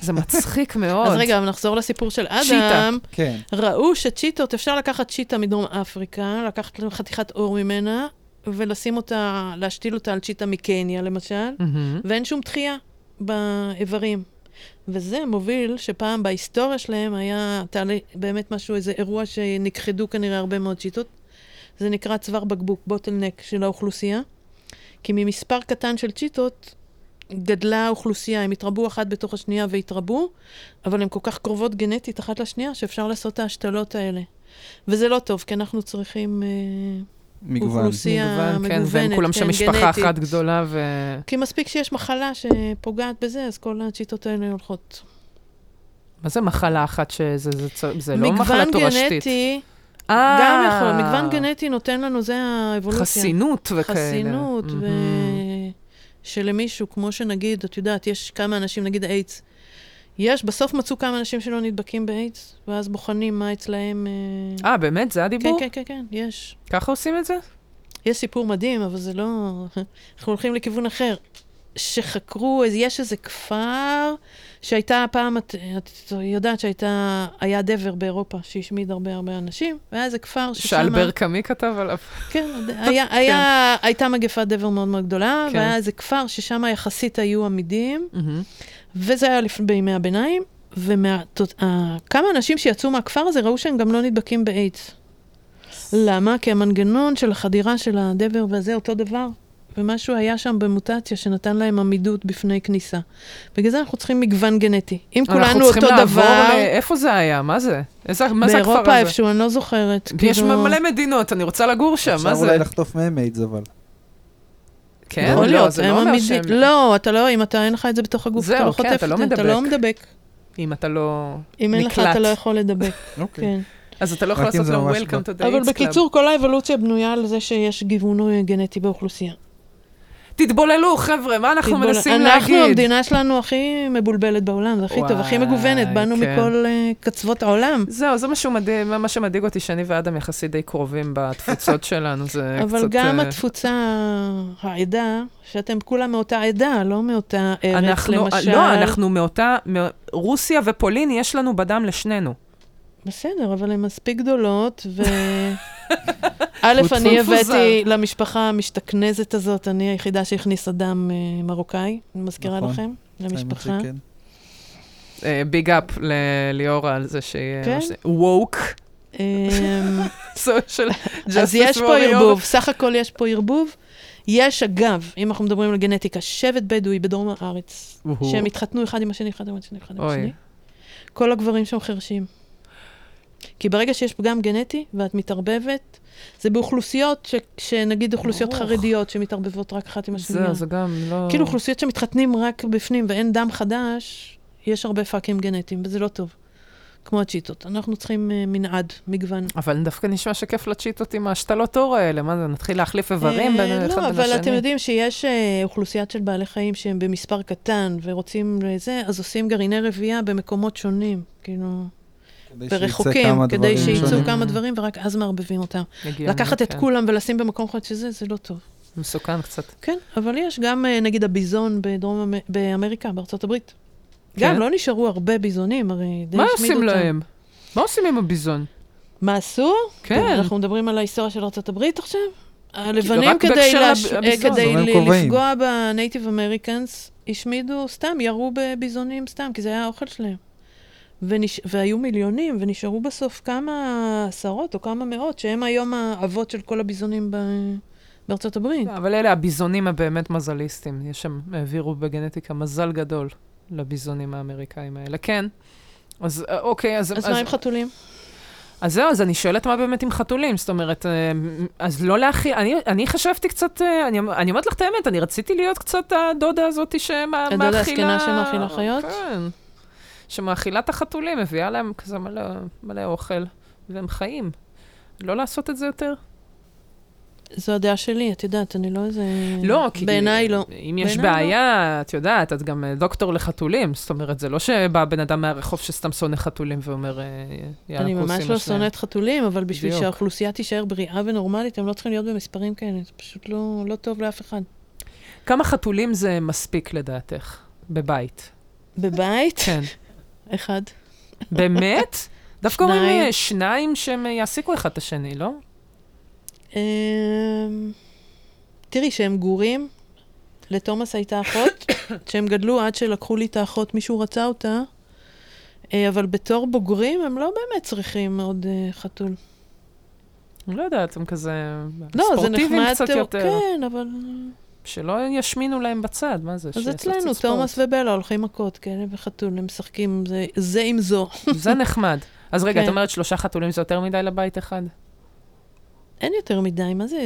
S1: זה מצחיק מאוד.
S3: אה. אז רגע, אבל נחזור לסיפור של
S1: צ'יטה.
S3: אדם.
S2: כן.
S3: ראו שצ'יטות, אפשר לקחת צ'יטה מדרום אפריקה, לקחת חתיכת אור ממנה, ולשים אותה, להשתיל אותה על צ'יטה מקניה, למשל.
S1: מהמם.
S3: ואין שום דחייה באיברים. וזה מוביל שפעם בהיסטוריה שלהם היה תעלה, באמת משהו, איזה אירוע שנכחדו כנראה הרבה מאוד שיטות. זה נקרא צוואר בקבוק, בוטלנק של האוכלוסייה. כי ממספר קטן של צ'יטות גדלה האוכלוסייה, הם התרבו אחת בתוך השנייה והתרבו, אבל הן כל כך קרובות גנטית אחת לשנייה, שאפשר לעשות את ההשתלות האלה. וזה לא טוב, כי אנחנו צריכים אה,
S2: מגוון.
S3: אוכלוסייה
S1: מגוון,
S3: מגוונת,
S1: כן, והם כולם שם
S3: כן,
S1: משפחה
S3: גנטית.
S1: אחת גדולה ו...
S3: כי מספיק שיש מחלה שפוגעת בזה, אז כל השיטות האלה הולכות.
S1: מה זה מחלה אחת שזה זה, צ- זה לא מחלה
S3: מגוון
S1: תורשתית?
S3: גנטי,
S1: אה,
S3: גם יכול, מגוון גנטי נותן לנו, זה האבולוציה.
S1: חסינות וכאלה.
S3: חסינות, ו...
S1: מהמם.
S3: שלמישהו, כמו שנגיד, את יודעת, יש כמה אנשים, נגיד איידס, יש, בסוף מצאו כמה אנשים שלא נדבקים באיידס, ואז בוחנים מה אצלהם... אה,
S1: אה, באמת? זה
S3: כן,
S1: הדיבור?
S3: כן, כן, כן, יש.
S1: ככה עושים את זה?
S3: יש סיפור מדהים, אבל זה לא... אנחנו הולכים לכיוון אחר. שחקרו, אז יש איזה כפר שהייתה פעם, את, את יודעת שהייתה, היה דבר באירופה שהשמיד הרבה הרבה אנשים, והיה איזה כפר ששם...
S1: שאל ברקמי כתב עליו.
S3: כן, היה, היה, הייתה מגפת דבר מאוד מאוד גדולה,
S1: כן.
S3: והיה איזה כפר ששם יחסית היו עמידים, Mm-hmm. וזה היה לפ... בימי הביניים, וכמה אנשים שיצאו מהכפר הזה ראו שהם גם לא נדבקים באיידס. למה? כי המנגנון של החדירה של הדבר והזה אותו דבר, ומשהו היה שם במוטציה שנתן להם עמידות בפני כניסה. בגלל זה אנחנו צריכים מגוון גנטי. אם
S1: אנחנו
S3: כולנו
S1: צריכים
S3: אותו
S1: לעבור
S3: דבר,
S1: ל... איפה זה היה? מה זה? איזה... מה זה הכפר
S3: באירופה
S1: הזה?
S3: איפשהו, אני לא זוכרת.
S1: יש
S3: כאילו-
S1: מלא מדינות, אני רוצה לגור שם,
S2: אפשר
S1: מה זה?
S2: אולי לחטוף מהם איידס, אבל.
S1: כן,
S3: יכול
S1: לא,
S3: להיות,
S1: זה
S3: הם
S1: לא אומר
S3: עמידים.
S1: שהם...
S3: לא, אתה לא, אם אתה אין לך את זה בתוך הגוף, אתה
S1: זהו,
S3: לא
S1: כן,
S3: חוטף
S1: אתה
S3: את
S1: לא
S3: זה, אתה לא
S1: מדבק.
S3: מדבק.
S1: אם אתה לא...
S3: אם אין לך,
S1: נקלט.
S3: אתה לא יכול לדבק,
S2: אוקיי.
S3: כן.
S1: אז אתה לא יכול
S2: רק אם
S1: לעשות
S2: זה
S1: לו
S2: ממש
S1: Welcome
S2: לא.
S1: to the
S3: אבל
S1: AIDS Club.
S3: בקיצור, כל האבולוציה בנויה על זה שיש גיוון גנטי באוכלוסייה.
S1: תתבוללו, חבר'ה, מה אנחנו
S3: תתבונן.
S1: מנסים
S3: אנחנו,
S1: להגיד?
S3: המדינה שלנו הכי מבולבלת בעולם, זה הכי טוב, הכי
S1: וואי,
S3: מגוונת, באנו
S1: כן.
S3: מכל אה, קצוות העולם.
S1: זהו, זה מה שהוא מדהים- מה שמדאיג אותי, שאני ואדם יחסית די קרובים בתפוצות שלנו, זה קצת...
S3: אבל גם
S1: אה,
S3: התפוצה, העדה, שאתם כולם מאותה עדה, לא מאותה ארץ,
S1: אנחנו,
S3: למשל.
S1: לא, אנחנו מאותה, מא- רוסיה ופולין יש לנו בדם לשנינו.
S3: בסדר, אבל הן מספיק גדולות, ו... א',
S1: הוא
S3: אני
S1: צפונפוזר.
S3: הבאתי למשפחה המשתכנזת הזאת, אני היחידה שהכניסה דם אה, מרוקאי, אני מזכירה
S2: נכון.
S3: לכם, למשפחה.
S2: האמת שכן.
S1: ביג אפ לליאורה על זה שהיא...
S3: כן.
S1: ווק. כן.
S3: אמ,
S1: social
S3: אז
S1: justice
S3: יש פה
S1: warrior.
S3: ערבוב, סך הכל יש פה ערבוב. יש, אגב, אם אנחנו מדברים על גנטיקה, שבט בדואי בדרום הארץ,
S1: אוהו.
S3: שהם התחתנו אחד עם השני, אחד עם השני, אחד עם
S1: אוי.
S3: השני. כל הגברים שם חרשים. כי ברגע שיש פגם גנטי ואת מתערבבת, זה באוכלוסיות, ש... שנגיד אוכלוסיות
S1: ברוך.
S3: חרדיות שמתערבבות רק אחת עם השנייה.
S1: זהו, זה גם לא...
S3: כאילו אוכלוסיות שמתחתנים רק בפנים ואין דם חדש, יש הרבה פאקים גנטיים, וזה לא טוב. כמו הצ'יטות. אנחנו צריכים אה, מנעד, מגוון.
S1: אבל דווקא נשמע שכיף לצ'יטות עם השתלות אור האלה, מה זה, נתחיל להחליף איברים בין
S3: אה,
S1: אחד בין
S3: לא,
S1: השני?
S3: אבל אתם יודעים שיש אה, אוכלוסיית של בעלי חיים שהם במספר קטן ורוצים לזה, אז עושים גרעיני רבייה במקומות שונים, כאילו,
S2: כדי שיצא
S3: ברחוקים,
S2: כמה
S3: כדי
S2: דברים
S3: שייצאו
S2: שונים.
S3: כמה דברים ורק אז מערבבים אותם.
S1: הגיוני,
S3: לקחת את
S1: כן.
S3: כולם ולשים במקום אחד שזה, זה לא טוב.
S1: מסוכן קצת.
S3: כן, אבל יש גם אה, נגיד הביזון בדרום אמ- באמריקה, בארצות הברית. גם לא נשארו הרבה ביזונים, הרי די
S1: כן. מה
S3: השמידו
S1: עושים
S3: אותם.
S1: להם? מה עושים עם הביזון?
S3: מה עשו? טוב,
S1: כן.
S3: אנחנו מדברים על ההיסטוריה של ארה"ב עכשיו? הלבנים
S1: רק בהקשר
S3: כדי,
S1: לב-
S3: להש... אה,
S1: לביזון.
S3: כדי
S2: אבל הם
S3: ל-
S2: כובעים.
S3: לפגוע בנייטיב אמריקאנס, השמידו סתם, ירו בביזונים סתם, כי זה היה האוכל שלהם. ונש... והיו מיליונים, ונשארו בסוף כמה עשרות או כמה מאות, שהם היום האבות של כל הביזונים ב... בארצות הברית.
S1: כן. אבל אלה הביזונים הבאמת מזליסטים. יש שם, העבירו בגנטיקה מזל גדול לביזונים האמריקאים האלה. כן. אז אה, אוקיי, אז...
S3: אז מה עם חתולים?
S1: אז זהו, אז אני שואלת מה באמת עם חתולים, זאת אומרת, אה, אז לא להכיל, אני, אני חשבתי קצת, אה, אני, אני אומרת לך את האמת, אני רציתי להיות קצת הדודה הזאת שמאכילה...
S3: הדודה הזקנה שמאכילה חיות?
S1: כן, שמאכילה את החתולים, מביאה להם כזה מלא, מלא אוכל, והם חיים. לא לעשות את זה יותר?
S3: זו הדעה שלי, את יודעת, אני לא איזה...
S1: לא, כי...
S3: בעיניי לא.
S1: אם יש
S3: בעיניי
S1: בעיה, את יודעת, את גם אה, דוקטור לחתולים. זאת אומרת, זה לא שבא בן אדם מהרחוב שסתם שונא חתולים ואומר, אה, יאללה,
S3: אני
S1: כוס
S3: ממש
S1: אימא
S3: לא
S1: שלהם.
S3: שונאת חתולים, אבל בשביל
S1: בדיוק.
S3: שהאוכלוסייה תישאר בריאה ונורמלית, הם לא צריכים להיות במספרים כאלה. זה פשוט לא, לא טוב לאף אחד.
S1: כמה חתולים זה מספיק לדעתך? בבית.
S3: בבית,
S1: כן.
S3: אחד.
S1: באמת? דווקא אומרים
S3: שניים.
S1: אה, שניים שהם אה, יעסיקו אחד את השני, לא?
S3: אמ, תראי, שהם גורים, לתומאס הייתה אחות, שהם גדלו עד שלקחו לי את האחות, מישהו רצה אותה, אה, אבל בתור בוגרים הם לא באמת צריכים עוד אה, חתול.
S1: אני לא יודעת, הם כזה
S3: לא, זה
S1: ספורטיביים
S3: נחמד,
S1: קצת
S3: תא-
S1: יותר.
S3: כן, אבל...
S1: שלא ישמינו להם בצד, מה זה?
S3: אז
S1: שיעשו קצת
S3: אצלנו,
S1: ספורט.
S3: תומאס ובלה הולכים מכות, כאלה וחתול, הם משחקים זה- זה עם זו.
S1: זה נחמד. אז רגע, את
S3: כן.
S1: אומרת שלושה חתולים זה יותר מדי לבית אחד?
S3: אין יותר מדי, מה זה...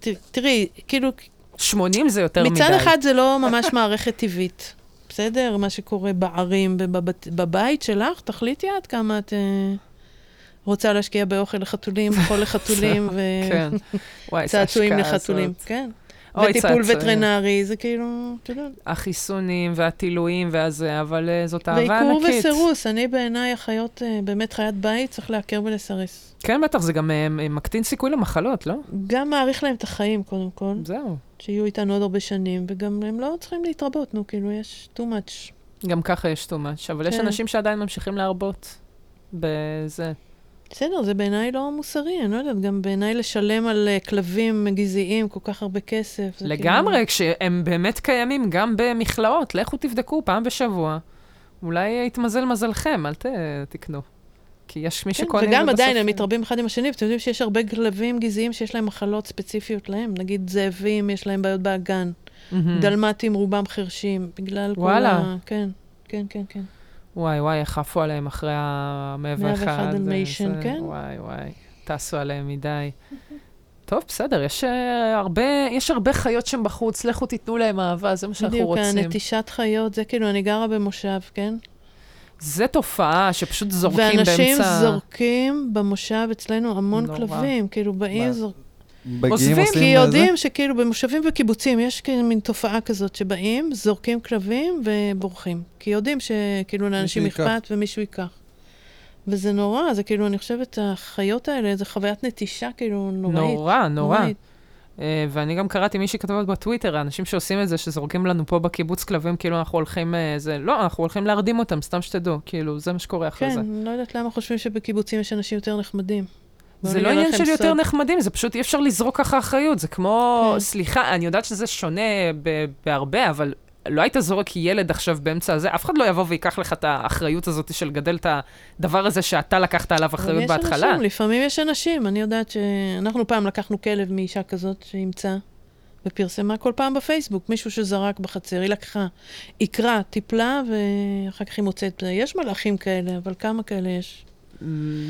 S3: ת- תראי, כאילו,
S1: 80 זה יותר מדי.
S3: מצד אחד זה לא ממש מערכת טבעית, בסדר? מה שקורה בערים ובבת- בבית שלך, תחליטי את כמה את אה, רוצה להשקיע באוכל לחתולים, חול לחתולים
S1: כן. וואי, זה
S3: וצעצועים
S1: השקעה
S3: אה, לחתולים.
S1: הזאת.
S3: כן.
S1: אוי,
S3: וטיפול
S1: צעצועים.
S3: וטרינרי, זה כאילו, אתה יודע.
S1: החיסונים והטילויים והזה, אבל אה, זאת אהבה
S3: ועיקור
S1: ענקית.
S3: וסירוס, אני בעיניי החיות, אה, באמת חיית בית, צריך לעקר ולסרס.
S1: כן, בטח, זה גם אה, אה, מקטין סיכוי למחלות, לא?
S3: גם מעריך להם את החיים, קודם כל,
S1: זהו.
S3: שיהיו איתנו עוד הרבה שנים, וגם הם לא צריכים להתרבות, נו, כאילו, יש too much.
S1: גם ככה יש too much, אבל יש
S3: כן.
S1: אנשים שעדיין ממשיכים להרבות בזה.
S3: בסדר, זה בעיניי לא מוסרי, אני לא יודעת, גם בעיניי לשלם על אה, כלבים גזעיים כל כך הרבה כסף. זה כאילו-
S1: לגמרי, כשהם באמת קיימים גם במכלאות, לכו תבדקו פעם בשבוע. אולי יתמזל מזלכם, אל ת- תקנו. כי יש מי
S3: כן,
S1: שקונה...
S3: וגם
S1: ובסוף-
S3: עדיין הם מתרבים אחד עם השני, ואתם יודעים שיש הרבה כלבים גזעיים שיש להם מחלות ספציפיות להם, נגיד זאבים, יש להם בעיות באגן,
S1: מהמם.
S3: דלמטים רובם חרשים, בגלל כל
S1: Mm. וואלה.
S3: ה... כן, כן, כן, כן.
S1: וואי, וואי, איך עפו עליהם אחרי ה-101.
S3: 101 דלמיישן, כן.
S1: וואי, וואי, טסו עליהם מדי. טוב, בסדר, יש אה, הרבה, יש הרבה חיות שם בחוץ, לכו תיתנו להם אהבה, זה מה שאנחנו
S3: בדיוק, אה,
S1: רוצים.
S3: הנטישת חיות, זה כאילו, אני גרה במושב, כן?
S1: זה תופעה שפשוט זורקים באמצע...
S3: ואנשים זורקים במושב אצלנו המון
S1: נורא.
S3: כלבים, כאילו באים,
S2: מה?
S3: זורקים.
S2: בגיעים
S1: עוזבים,
S2: עושים...
S3: כי
S2: זה?
S3: יודעים שכאילו במושבים וקיבוצים יש כאילו מין תופעה כזאת שבאים, זורקים כלבים ובורחים. כי יודעים שכאילו לאנשים
S2: ייקח.
S3: אכפת ומישהו ייקח. וזה נורא, זה כאילו, אני חושבת, החיות האלה, זה חוויית נטישה כאילו נוראית.
S1: נורא, נורא.
S3: נוראית.
S1: אה, ואני גם קראתי מישהי כתובת בטוויטר, האנשים שעושים את זה, שזורקים לנו פה בקיבוץ כלבים, כאילו אנחנו הולכים... אה, זה, לא, אנחנו הולכים להרדים אותם, סתם שתדעו. כאילו, זה מה שקורה אחרי
S3: כן,
S1: זה.
S3: אני לא יודעת למה חושבים שבקיבוצים יש אנשים יותר נחמדים. בואו
S1: זה לא
S3: אני אגלה
S1: עניין
S3: לכם
S1: של יותר
S3: סוד.
S1: נחמדים, זה פשוט אי אפשר לזרוק ככה אחריות. זה כמו,
S3: כן.
S1: סליחה, אני יודעת שזה שונה ב- בהרבה, אבל לא היית זורק ילד עכשיו באמצע הזה, אף אחד לא יבוא וייקח לך את האחריות הזאת של לגדל את הדבר הזה שאתה לקחת עליו
S3: אבל
S1: אחריות
S3: יש
S1: בהתחלה.
S3: אנשים, לפעמים יש אנשים, אני יודעת שאנחנו פעם לקחנו כלב מאישה כזאת שאימצה, ופרסמה כל פעם בפייסבוק, מישהו שזרק בחצר, היא לקחה, עיקרה, טיפלה, ואחר כך היא מוצאת, יש מלאכים כאלה, אבל כמה כאלה יש?
S1: מ,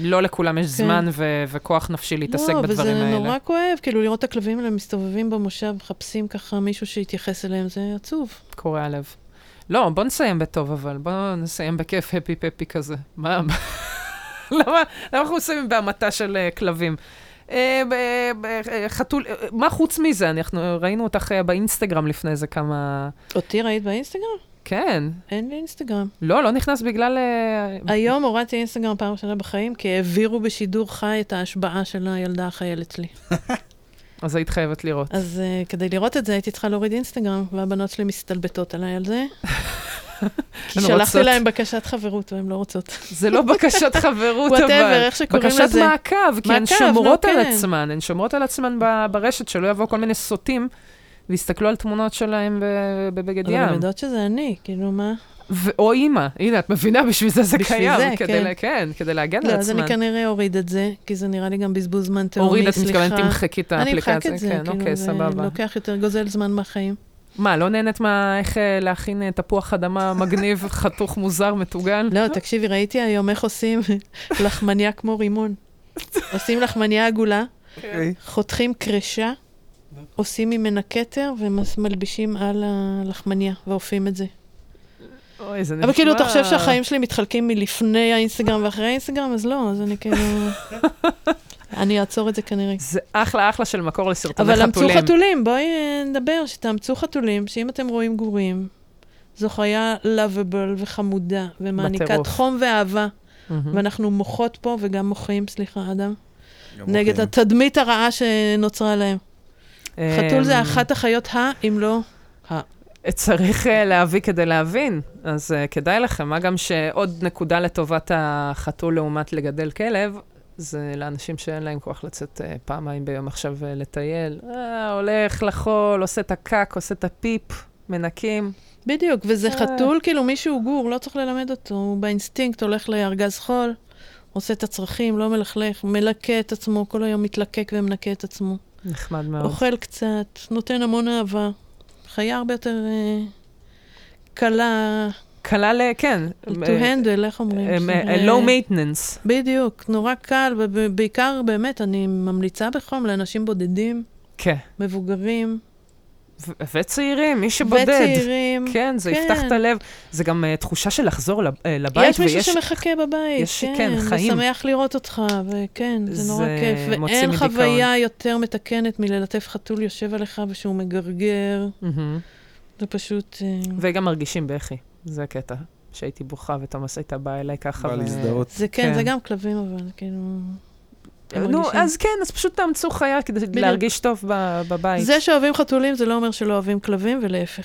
S1: לא לכולם יש זמן ו- וכוח נפשי להתעסק בדברים
S3: כן. לא, וזה
S1: האלה.
S3: נורא כואב, כאילו לראות את הכלבים האלה מסתובבים במושב, מחפשים ככה מישהו שיתייחס אליהם, זה עצוב.
S1: קורע לב. לא, בוא נסיים בטוב, אבל בוא נסיים בכיף הפי פפי כזה. מה? מה- למה למה אנחנו מסיימים בהמתה של אה, כלבים? אה, ב- ב- אה, חתול, אה, מה חוץ מזה? אנחנו ראינו אותך אה, באינסטגרם לפני איזה כמה...
S3: אותי ראית באינסטגרם?
S1: כן.
S3: אין לי אינסטגרם.
S1: לא, לא נכנס בגלל... אה,
S3: היום הורדתי אינסטגרם פעם ראשונה בחיים, כי העבירו בשידור חי את ההשבעה של הילדה החיילת שלי.
S1: אז היית חייבת לראות.
S3: אז uh, כדי לראות את זה, הייתי צריכה להוריד אינסטגרם, והבנות שלי מסתלבטות עליי על זה. כי
S1: הן
S3: שלחתי
S1: רוצות.
S3: להם בקשת חברות, והן לא רוצות.
S1: זה לא בקשת חברות,
S3: וואטאבר,
S1: אבל.
S3: איך שקוראים
S1: בקשת
S3: לזה.
S1: מעקב, כי הן
S3: מעקב,
S1: שומרות
S3: נו,
S1: על
S3: כן.
S1: עצמן, הן שומרות על עצמן ב- ברשת, שלא יבואו כל מיני סוטים ויסתכלו על תמונות שלהם ב- בבגד
S3: אבל הן
S1: ים.
S3: יודעות שזה אני, כאילו מה?
S1: ו- או אימא, הנה, את מבינה, בשביל זה זה
S3: בשביל
S1: קיים.
S3: זה,
S1: כדי
S3: כן.
S1: לה- כן, כדי להגן
S3: לא,
S1: על
S3: אז אני
S1: עצמן.
S3: כנראה אוריד את זה, כי זה נראה לי גם בזבוז זמן תהומי,
S1: אוריד, את
S3: סליחה.
S1: מתכוונת, תמחקי את
S3: אני אמחק
S1: האפליקציה.
S3: את זה,
S1: כן,
S3: כאילו,
S1: אוקיי,
S3: זה
S1: סבבה.
S3: לוקח יותר, גוזל זמן מהחיים.
S1: מה, לא נהנית מה... איך אה, להכין אה, תפוח אדמה מגניב, חתוך, מוזר, מטוגן?
S3: לא, תקשיבי, ראיתי היום איך עושים לחמניה כמו רימון. עושים לחמניה עגולה,
S2: אוקיי.
S3: חותכים קרשה, עושים ממנה כתר ומלבישים על הלחמניה, ואופים את זה.
S1: אוי, זה נשמע...
S3: אבל כאילו, אתה חושב שהחיים שלי מתחלקים מלפני האינסטגרם ואחרי האינסטגרם? אז לא, אז אני כאילו... אני אעצור את זה כנראה.
S1: זה אחלה אחלה של מקור לסרטוני
S3: אבל אמצו
S1: חתולים.
S3: חתולים, בואי אה, נדבר, שתאמצו חתולים, שאם אתם רואים גורים, זו חיה לאביבל וחמודה, ומעניקת
S1: בטירוף. Mm-hmm.
S3: חום ואהבה,
S1: מהמם.
S3: ואנחנו מוחות פה וגם מוחים, סליחה, אדם,
S2: גם
S3: נגד
S2: אוקיי.
S3: התדמית הרעה שנוצרה להם. חתול זה
S1: אמ,
S3: אחת החיות ה, אם לא...
S1: צריך אה, להביא כדי להבין, אז אה, כדאי לכם. מה גם שעוד נקודה לטובת החתול לעומת לגדל כלב, זה לאנשים שאין להם כוח לצאת אה, פעמיים ביום עכשיו אה, לטייל. אה, הולך לחול, עושה את הקק, עושה את הפיפ, מנקים.
S3: בדיוק, וזה
S1: אה.
S3: חתול, כאילו מישהו גור, לא צריך ללמד אותו, הוא באינסטינקט הולך לארגז חול, עושה את הצרכים, לא מלכלך, מלקה את עצמו, כל היום מתלקק ומנקה את עצמו.
S1: נחמד מאוד.
S3: אוכל קצת, נותן המון אהבה. חיה הרבה יותר אה, קלה
S1: כלל, אה, לא כן. אה,
S3: to אה, handle, איך אומרים? שזה-
S1: לואו מייטננס.
S3: בדיוק, נורא קל, ובעיקר באמת, אני ממליצה בחום לאנשים בודדים,
S1: כן.
S3: מבוגרים,
S1: ו- וצעירים, מי שבודד.
S3: וצעירים.
S1: כן, זה
S3: כן.
S1: יפתח את הלב. זה גם אה, תחושה של לחזור לב- אה, לבית,
S3: יש מישהו שמחכה בבית,
S1: יש-
S3: כן,
S1: כן, חיים.
S3: ושמח לראות אותך, וכן, זה נורא
S1: זה
S3: כיף.
S1: מוציא
S3: ואין
S1: מדיכאון.
S3: חוויה יותר מתקנת מללטף חתול יושב עליך ושהוא מגרגר,
S1: מהמם.
S3: זה פשוט... אה,
S1: וגם מרגישים בכי, זה הקטע. שהייתי בוכה ותומאס הייתה באה אליי ככה.
S2: בא
S1: ו-
S2: להזדהות.
S3: זה כן,
S1: כן.
S3: זה גם כלבים אבל, כאילו... הם
S1: נו,
S3: מרגישים.
S1: אז כן, אז פשוט תאמצו חיה כדי להרגיש טוב ב- בבית.
S3: זה שאוהבים חתולים זה לא אומר שלא אוהבים כלבים, ולהפך.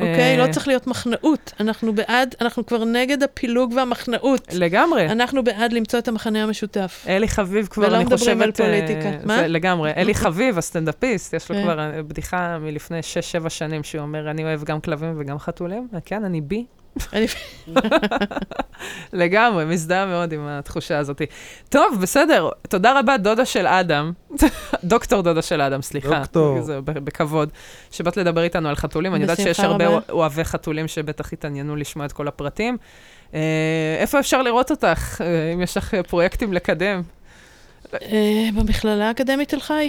S1: אה,
S3: אוקיי? לא צריך להיות מחנאות. אנחנו בעד, אנחנו כבר נגד הפילוג והמחנאות.
S1: לגמרי.
S3: אנחנו בעד למצוא את המכנה המשותף.
S1: אלי חביב כבר,
S3: ולא
S1: אני
S3: מדברים
S1: חושבת...
S3: על פוליטיקה.
S1: אה,
S3: מה? אוקיי.
S1: זה לגמרי. אלי חביב, הסטנדאפיסט, יש לו
S3: כן.
S1: כבר אה, בדיחה מלפני 6-7 שנים, שהוא אומר, אני אוהב גם כלבים וגם חתולים. אה, כן, אני בי.
S3: אני-
S1: לגמרי, מזדהה מאוד עם התחושה הזאת. טוב, בסדר, תודה רבה, דודה של אדם, דוקטור דודה של אדם, סליחה.
S2: דוקטור.
S1: זה ב- בכבוד, שבאת לדבר איתנו על חתולים. אני יודעת
S3: בשמחה
S1: שיש הרבה
S3: רבה.
S1: אוהבי חתולים שבטח התעניינו לשמוע את כל הפרטים. אה, איפה אפשר לראות אותך, אה, אם יש לך אה, פרויקטים לקדם?
S3: אה, במכללה האקדמית תל חי.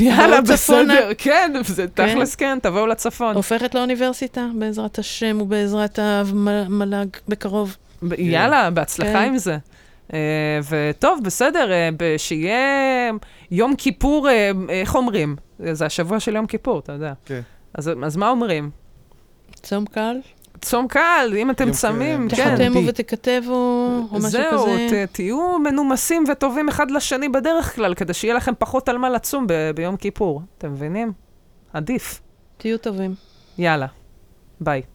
S1: יאללה,
S3: בואו צפונה.
S1: בסדר, כן, זה
S3: כן.
S1: תכלס כן, תבואו לצפון.
S3: הופכת לאוניברסיטה, בעזרת השם ובעזרת המל"ג בקרוב.
S1: ב- יאללה, בהצלחה
S3: כן.
S1: עם זה. אה, וטוב, בסדר, אה, ב- שיהיה יום כיפור, אה, איך אומרים? אה, זה השבוע של יום כיפור, אתה יודע.
S2: כן.
S1: אז אז מה אומרים?
S3: צום קל.
S1: כן.
S3: צום
S1: צום קל, אם אתם
S2: יום
S1: צמים,
S2: כיפור.
S1: כן.
S3: תחתמו
S2: אמיתי.
S3: ותכתבו, או משהו
S1: זהו,
S3: כזה.
S1: ת- תהיו מנומסים וטובים אחד לשני בדרך כלל, כדי שיהיה לכם פחות על מה לצום ב- ביום כיפור. אתם מבינים? עדיף.
S3: תהיו טובים.
S1: יאללה, ביי.